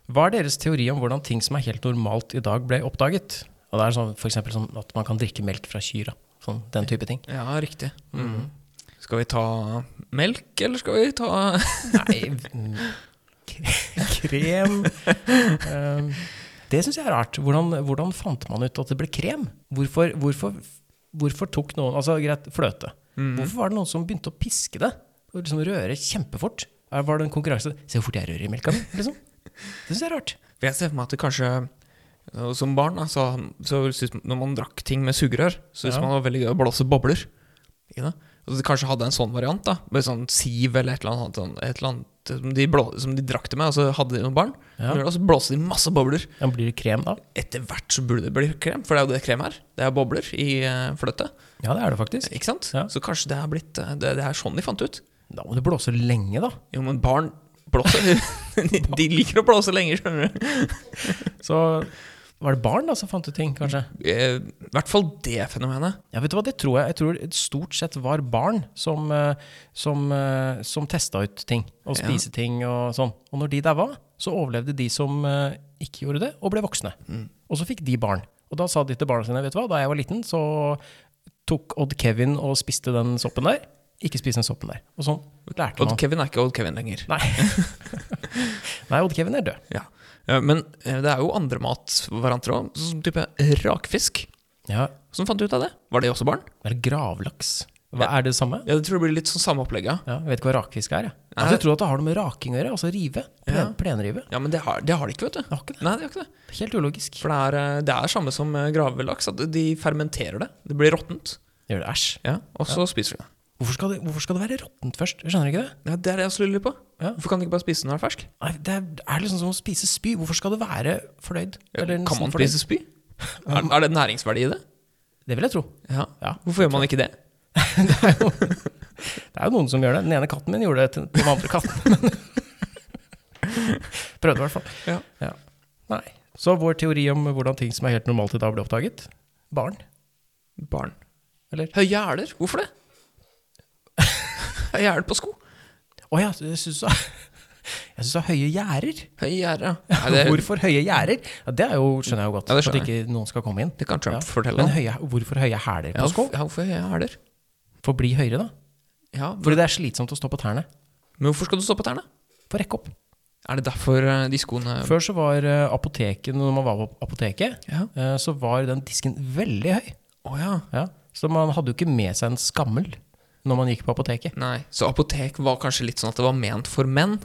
S2: Hva er deres teori om hvordan ting som er helt normalt i dag, ble oppdaget? Og det er sånn, for eksempel sånn at man kan drikke melk fra kyr. da. Sånn, den type ting.
S3: Ja, riktig. Mm.
S2: Mm.
S3: Skal vi ta melk, eller skal vi ta
S2: Nei mm, kre- Krem um, Det syns jeg er rart. Hvordan, hvordan fant man ut at det ble krem? Hvorfor, hvorfor, hvorfor tok noen Altså, greit, fløte. Hvorfor var det noen som begynte å piske det? Og liksom røre kjempefort? Er- Var det en konkurranse? Se hvor fort jeg rører i melka mi, liksom. Det syns jeg er rart.
S3: For jeg ser for meg at det kanskje eh, Som barn, da, så, så synes, når man drakk ting med sugerør, så syntes
S2: Ja.
S3: man det var veldig gøy å blåse bobler i det. Og Og så de kanskje hadde en sånn variant, da. Med sånn siv eller et eller annet, sånn, et eller annet som, de blå, som de drakk det med, og så hadde de noen barn.
S2: Ja.
S3: Og så blåste de masse bobler.
S2: Ja, blir det krem da?
S3: Etter hvert så burde det bli krem, for det er jo det krem er. Det er bobler i eh, fløte.
S2: Ja, det er det faktisk.
S3: Ikke sant?
S2: Ja.
S3: Så kanskje det er blitt eh, det, det er sånn de fant ut.
S2: Da må det blåse lenge, da.
S3: Jo, men barn blåser. de, de liker å blåse lenger, skjønner du.
S2: Så var det barn da som fant ut ting, kanskje?
S3: Eh, I hvert fall det fenomenet.
S2: Ja, vet du hva, det tror jeg. Jeg tror det stort sett var barn som, eh, som, eh, som testa ut ting. Og
S3: Ja.
S2: spise ting og sånn. Og når de daua, så overlevde de som eh, ikke gjorde det, og ble voksne.
S3: Mm.
S2: Og så fikk de barn. Og da sa de til barna sine, vet du hva, da jeg var liten, så tok Odd Kevin og spiste den soppen der. Ikke spis den soppen der. Og sånn lærte
S3: Odd
S2: man.
S3: Kevin er ikke Odd Kevin lenger.
S2: Nei. Nei, Odd Kevin er død.
S3: Ja. Eh, Men eh, det er jo andre matvarianter òg, som type rakfisk.
S2: Ja,
S3: Som fant ut av det. Var det også barn?
S2: det er gravlaks. Hva, er det det samme?
S3: Ja, det tror jeg blir litt sånn samme opplegg, ja.
S2: Ja, jeg vet ikke hva rakfisk er. Jeg,
S3: Nei.
S2: altså, jeg tror at det har noe med raking å gjøre. Altså rive. Plen,
S3: Ja.
S2: Plenrive.
S3: Ja, men det har, det har de ikke, vet du.
S2: Det har ikke det.
S3: Nei, det har ikke det.
S2: Helt ulogisk.
S3: For det er, eh, det er samme som eh, gravelaks, at de fermenterer det. Det blir råttent.
S2: Gjør det æsj.
S3: Ja, og så spiser du det.
S2: Hvorfor skal det, hvorfor skal det være råttent først? Jeg skjønner ikke det.
S3: Ja, det er det jeg også lurer litt på.
S2: Ja.
S3: Hvorfor kan du ikke bare spise den når den er fersk?
S2: Nei, det er, er liksom som å spise spy. Hvorfor skal det være fordøyd? Eller
S3: kan
S2: nesten
S3: man
S2: fordøyd?
S3: spise spy? Er, er det næringsverdi i det?
S2: Det vil jeg tro.
S3: Ja.
S2: Ja.
S3: Hvorfor gjør man ikke det?
S2: Det er jo noen som gjør det. Den ene katten min gjorde det til til den andre katten. Prøvde i hvert fall.
S3: Ja.
S2: Nei. Så vår teori om hvordan ting som er helt normalt i dag, ble oppdaget? Barn?
S3: Barn.
S2: Eller?
S3: Høye hæler. Hvorfor det? Høye hæler på sko.
S2: Å ja, jeg syns du Jeg syns du har høye gjerder.
S3: Høye gjerder, ja. Nei, det,
S2: Hvorfor høye gjerder? Ja, det er jo, skjønner jeg jo godt.
S3: Ja, det
S2: at
S3: skjønner
S2: ikke noen skal komme inn.
S3: det kan Trump
S2: Ja.
S3: fortelle.
S2: Men
S3: om.
S2: høye, hvorfor høye hæler
S3: Ja,
S2: på sko?
S3: hvorfor- ja, hvorfor høye hæler?
S2: For å bli høyere, da.
S3: Ja,
S2: Fordi det er slitsomt å stå på tærne.
S3: Men hvorfor skal du stå på tærne?
S2: For å rekke opp.
S3: Er det derfor eh, de skoene
S2: Før så var eh, apoteket, når man var på apoteket,
S3: Ja.
S2: eh, så var den disken veldig høy.
S3: Å ja.
S2: Ja. Så man hadde jo ikke med seg en skammel når man gikk på apoteket.
S3: Nei. Så apotek var kanskje litt sånn at det var ment for menn,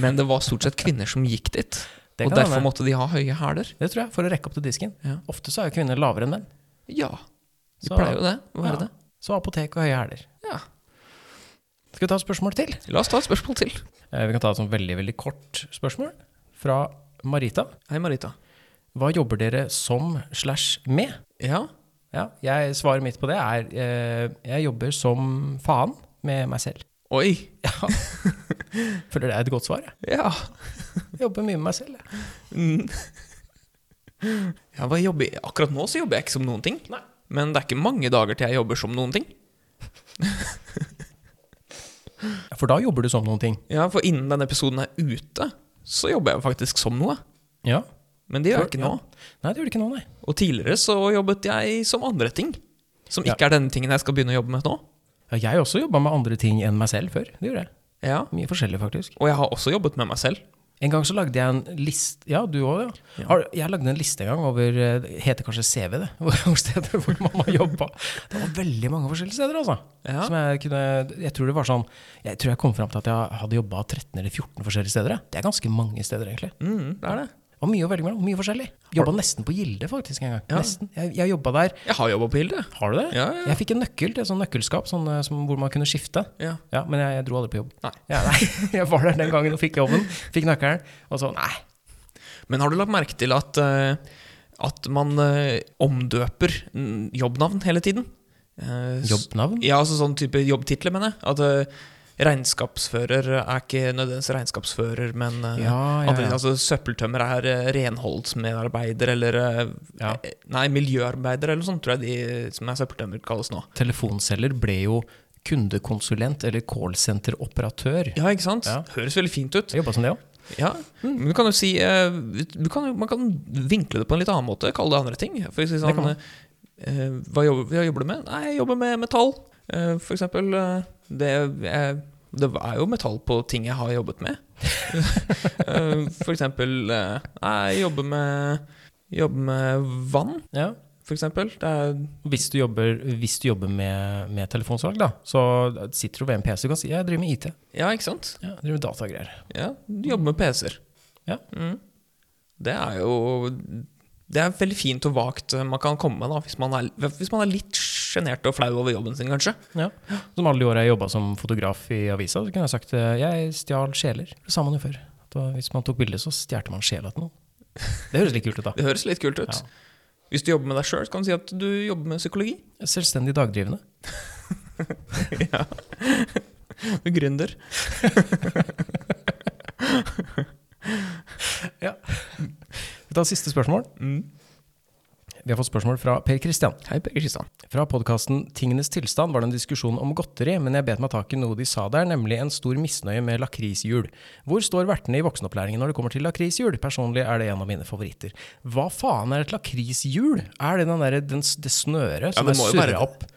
S3: men det var stort sett kvinner som gikk dit.
S2: Det
S3: Og
S2: kan
S3: derfor
S2: hende.
S3: måtte de ha høye hæler.
S2: Det tror jeg, for å rekke opp til disken.
S3: Ja.
S2: Ofte så er jo kvinner lavere enn menn.
S3: Ja. De
S2: Så-
S3: pleier jo det. Hva er
S2: Ja.
S3: det?
S2: Så apotek og høye hæler.
S3: Ja.
S2: Skal vi ta et spørsmål til?
S3: La oss ta et spørsmål til.
S2: Eh, Vi kan ta et sånn veldig, veldig kort spørsmål fra Marita.
S3: Hei, Marita.
S2: Hva jobber dere som slash med?
S3: Ja.
S2: Ja, jeg, svaret mitt på det er eh, jeg jobber som faen med meg selv.
S3: Oi.
S2: Ja. Føler det er et godt svar. Jeg.
S3: Ja.
S2: jeg jobber mye med meg selv. Jeg.
S3: Mm. Ja, hva jobber jeg? Akkurat nå så jobber jeg ikke som noen ting.
S2: Nei.
S3: Men det er ikke mange dager til jeg jobber som noen ting.
S2: For da jobber du som noen ting.
S3: Ja, For innen denne episoden er ute, så jobber jeg faktisk som noe.
S2: Ja.
S3: Men det gjør jeg
S2: For-
S3: ikke nå.
S2: Nei, det gjør du ikke nå, nei.
S3: Og tidligere så jobbet jeg som andre ting. Som ikke er denne tingen jeg skal begynne å jobbe med nå.
S2: Ja, jeg også jobba med andre ting enn meg selv før. Det gjorde jeg.
S3: Ja.
S2: Mye forskjellig, faktisk.
S3: Og jeg har også jobbet med meg selv.
S2: En gang så lagde jeg en liste Ja, du òg, ja. Har- Jeg lagde en liste en gang over eh, Det heter kanskje CV, det. Hvor stedet hvor mamma jobba. Det var veldig mange forskjellige steder, altså.
S3: Ja.
S2: Som jeg kunne Jeg tror det var sånn Jeg tror jeg kom fram til at jeg hadde jobba 13 eller 14 forskjellige steder. jeg. Det er ganske mange steder, egentlig.
S3: Mm, det er det.
S2: Det var mye å velge mellom. Mye forskjellig. Jobba nesten på Gilde, faktisk, en gang.
S3: Ja.
S2: Nesten. Jeg, jeg jobba der.
S3: Jeg har jobba på Hilde.
S2: Har du det?
S3: Ja, ja, ja.
S2: Jeg fikk en nøkkel til et sånt nøkkelskap sånn, eh, som, hvor man kunne skifte.
S3: Ja.
S2: Ja, men jeg, jeg dro aldri på jobb.
S3: Nei.
S2: Ja, nei. Jeg var der den gangen og fikk jobben, fikk nøkkelen, og så nei.
S3: Men har du lagt merke til at, eh, at man eh, omdøper mm, jobbnavn hele tiden? Eh, s-
S2: Jobbnavn?
S3: Ja, altså sånn type jobbtitler, mener jeg. At eh, regnskapsfører er ikke nødvendigvis regnskapsfører, men eh,
S2: Ja, ja,
S3: andre-
S2: ja.
S3: altså søppeltømmer er eh, renholdsmedarbeider eller eh,
S2: Ja.
S3: eh, Nei, miljøarbeider eller noe sånt, tror jeg de som er søppeltømmer, kalles nå.
S2: Telefonselger ble jo kundekonsulent eller callsenteroperatør.
S3: Ja, ikke sant?
S2: Ja.
S3: Høres veldig fint ut.
S2: Jeg jobba som det òg.
S3: Ja,
S2: Mm.
S3: men du kan jo si eh, du kan, jo- Man kan vinkle det på en litt annen måte, kalle det andre ting. For å si
S2: Det kan
S3: sånn, eh, hva, jobber, hva jobber du med? Nei, jeg jobber med metall, eh, for eksempel. eh, det, eh, det er jo metall på ting jeg har jobbet med. Eh, for eksempel eh, Nei, jeg jobber med, jobber med vann,
S2: Ja.
S3: for eksempel. Det er,
S2: Hvis du jobber, hvis du jobber med, med telefonsalg, da, så sitter du ved en PC og kan si jeg driver med IT.
S3: ja, ikke sant?
S2: Ja, jeg driver med datagreier.
S3: Ja, du jobber med PC-er.
S2: Ja.
S3: Mm. Det er eh, jo Det er veldig fint og vagt man kan komme med da, hvis man er, hvis man er litt sjenert og flau over jobben sin, kanskje.
S2: Ja. Som alle de åra jeg jobba som fotograf i avisa, så kunne jeg sagt eh, jeg stjal sjeler. Det sa man jo før. At det var- hvis man tok bilde, så stjal man sjela til noen. Det høres litt kult ut, da.
S3: Det høres litt kult ut.
S2: Ja.
S3: Hvis du jobber med deg sjøl, kan du si at du jobber med psykologi.
S2: Selvstendig dagdrivende.
S3: ja. Du er gründer.
S2: Vi tar siste spørsmål.
S3: Mm.
S2: Vi har fått spørsmål fra Per Kristian.
S3: Hei, Per Kristian.
S2: Fra podkasten Tingenes tilstand var det en diskusjon om godteri, men jeg bet meg tak i noe de sa der, nemlig en stor misnøye med lakrishjul. Hvor står vertene i voksenopplæringen når det kommer til lakrishjul? Personlig er det en av mine favoritter. Hva faen er et lakrishjul? Er det den der, den, s- det snøret som
S3: det
S2: er
S3: må jo være det.
S2: surra opp?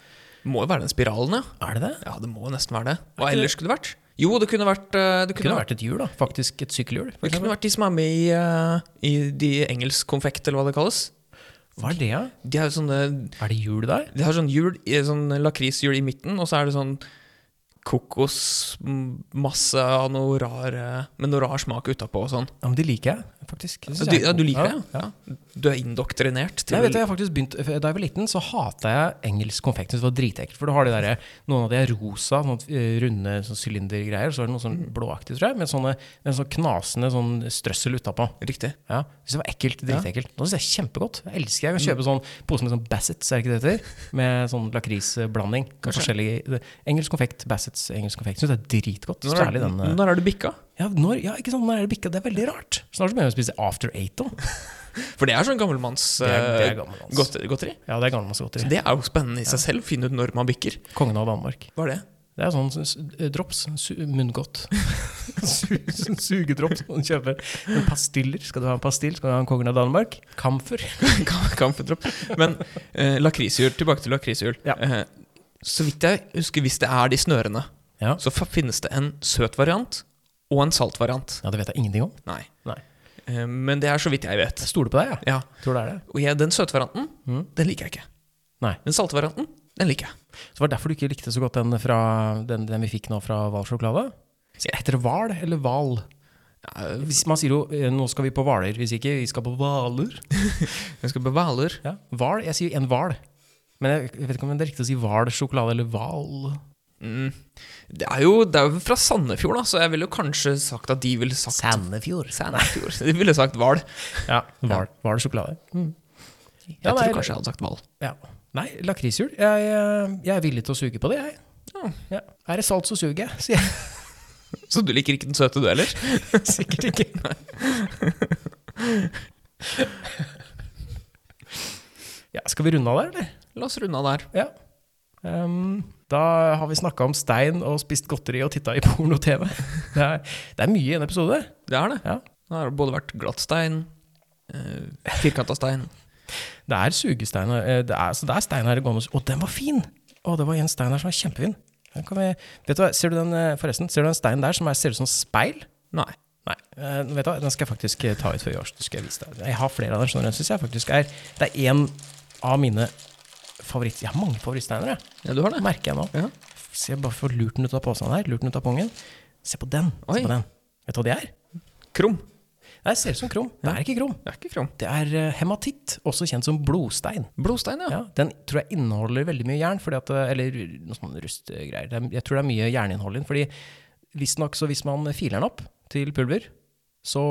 S3: Må jo være den spiralen, ja.
S2: Er det det?
S3: Ja, det må jo nesten være det. Hva ellers skulle det vært? Jo, det kunne vært eh, Det
S2: Det
S3: kunne
S2: kunne
S3: vært
S2: vært et hjul, da. Faktisk et sykkelhjul. for
S3: det kunne
S2: eksempel.
S3: vært de som er med i, eh, i de engelsk konfekt, eller hva det kalles.
S2: Hva er det, da?
S3: De er jo sånne
S2: Er det hjul der?
S3: De har sånn hjul, i- sånn lakrishjul i midten, og så er det sånn kokosmasse av noe rar Med noe rar smak utapå og sånn.
S2: Ja, men de liker jeg, faktisk. Det synes
S3: Du,
S2: jeg er
S3: ja, du
S2: god.
S3: liker det?
S2: Ja.
S3: Ja. Du er indoktrinert
S2: Nei,
S3: til
S2: vet du, jeg har faktisk begynt, Da jeg var liten, så hata jeg engelsk konfekt. Det var dritekkelt. For du har de der, noen av de er rosa, sånne eh, runde sånn sylindergreier. Så er det noe sånn blåaktig, tror jeg, med sånne, med sånn knasende sånn strøssel utapå.
S3: Riktig.
S2: Ja, det synes jeg var ekkelt, dritekkelt. Nå synes jeg det er kjempegodt. Jeg elsker jeg kan kjøpe sånn pose med sånn Bassets, er det ikke det heter? Med sånn lakrisblanding. Med forskjellige- Engelsk konfekt, Bassets, engelsk konfekt. Synes det er dritgodt.
S3: Når er,
S2: Særlig den eh,
S3: når er du bikka?
S2: ja, når, ja, ikke sant, når er det bikka? Det er veldig rart. Snart så begynner vi å spise After Eight òg.
S3: For det er sånn gammelmanns
S2: Det er- det er
S3: eh,
S2: gammelmanns.
S3: godte- godteri.
S2: Ja, det er gammelmannsgodteri.
S3: Det er jo spennende i seg selv, å finne ut når man bikker.
S2: Kongen av Danmark.
S3: Hva er det?
S2: Det er sånn s- s- drops, su munngodt. su sånn sugedrops man kjøper. Men pastiller, skal du ha en pastill, skal du ha en kongen av Danmark. Kamfer.
S3: Kam- Kampfetropp. Men eh, lakrishjul, tilbake til lakrishjul.
S2: Ja.
S3: Eh, så vidt jeg husker, hvis det er de snørene,
S2: Ja.
S3: så fa- finnes det en søt variant og en salt variant.
S2: ja, det vet jeg ingenting om.
S3: Nei.
S2: Nei.
S3: Eh, men det er så vidt jeg vet.
S2: Jeg stoler på deg, jeg.
S3: Ja.
S2: Ja. Tror det er det.
S3: Og jeg, den søte varianten,
S2: Mm.
S3: den liker jeg ikke.
S2: Nei.
S3: Den salte varianten, den liker jeg.
S2: Så var det derfor du ikke likte så godt den, fra, den, den vi fikk nå fra Hval sjokolade? Så Heter det hval eller hval?
S3: Ja,
S2: Hvis Man sier jo eh, 'nå skal vi på Hvaler', hvis ikke vi skal på Hvaler.
S3: Jeg skal på Hvaler.
S2: Ja. Hval, jeg sier en hval. Men jeg, jeg vet ikke om det er riktig å si hval sjokolade eller hval.
S3: Mm. Det, er jo, det er jo fra Sandefjord, da, så jeg ville jo kanskje sagt at de ville sagt
S2: Sandefjord.
S3: Sandefjord. De ville sagt hval.
S2: Ja, hval, hval sjokolade.
S3: Jeg
S2: Ja, nei,
S3: tror kanskje jeg hadde sagt hval.
S2: Ja. Nei, lakrishjul. Jeg, eh, jeg er villig til å suge på det, jeg.
S3: Ja.
S2: Ja. Er det salt, så suger jeg, sier jeg
S3: Så du liker ikke den søte, du heller?
S2: sikkert ikke. ja, skal vi runde av der, eller?
S3: La oss runde av der.
S2: Ja. Ehm, da har vi snakka om stein og spist godteri og titta i porno-TV. Det, er- det er mye i en episode.
S3: Det er det.
S2: Ja.
S3: Det har både vært glatt stein, eh, firkanta stein
S2: Det er sugestein her. eh, Det er, så det er stein her gående. Å, den var fin! Å, det var en stein her som var kjempefin. Den kan vi, vet du hva, ser du den, eh, forresten, ser du den steinen der som er, ser ut som speil?
S3: Nei.
S2: Nei, eh, vet du hva, den skal jeg faktisk eh, ta ut før jord. Skal jeg, vise deg. jeg har flere av dem, skjønner du. Den synes jeg faktisk er Det er en av mine favoritt... Jeg har mange favorittsteiner, jeg.
S3: Ja, du har det.
S2: Merker jeg nå.
S3: Ja.
S2: Se, bare få lurt den ut av posen her. Lurt den ut av pungen. Se på den.
S3: Oi.
S2: Se på den. Vet du hva det er?
S3: Krum.
S2: Nei, Det ser ut som krom. Det er ikke krom.
S3: Det er ikke krum.
S2: Det er eh, hematitt, også kjent som blodstein.
S3: Blodstein, ja.
S2: Ja, den tror jeg inneholder veldig mye jern, fordi at, eller noe sånn rustgreier. Det er- Jeg tror det er mye jerninnhold i den. fordi visstnok så hvis man filer den opp til pulver, så,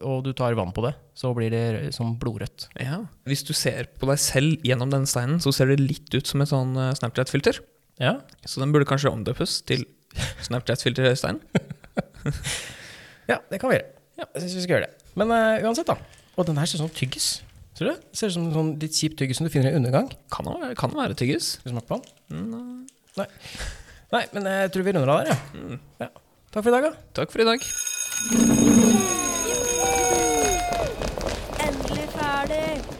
S2: og du tar vann på det, så blir det rød- som blodrødt.
S3: ja. Hvis du ser på deg selv gjennom denne steinen, så ser det litt ut som et sånn eh, Snapchat-filter.
S2: Ja.
S3: Så den burde kanskje omdøpes til Snapchat-filterstein.
S2: ja, det kan vi gjøre. Ja, jeg syns vi skal gjøre det. Men eh, uansett, da. Og den her ser ut som tyggis. Ser du? det? Ser ut som en sånn litt kjip tyggis som du finner i undergang.
S3: Kan det være, kan det være tyggis?
S2: Skal du smake på den? Nei. Nei, men eh, jeg tror vi runder av der, ja. ja. Takk for i dag, da.
S3: Takk for i dag.
S4: Endelig ferdig!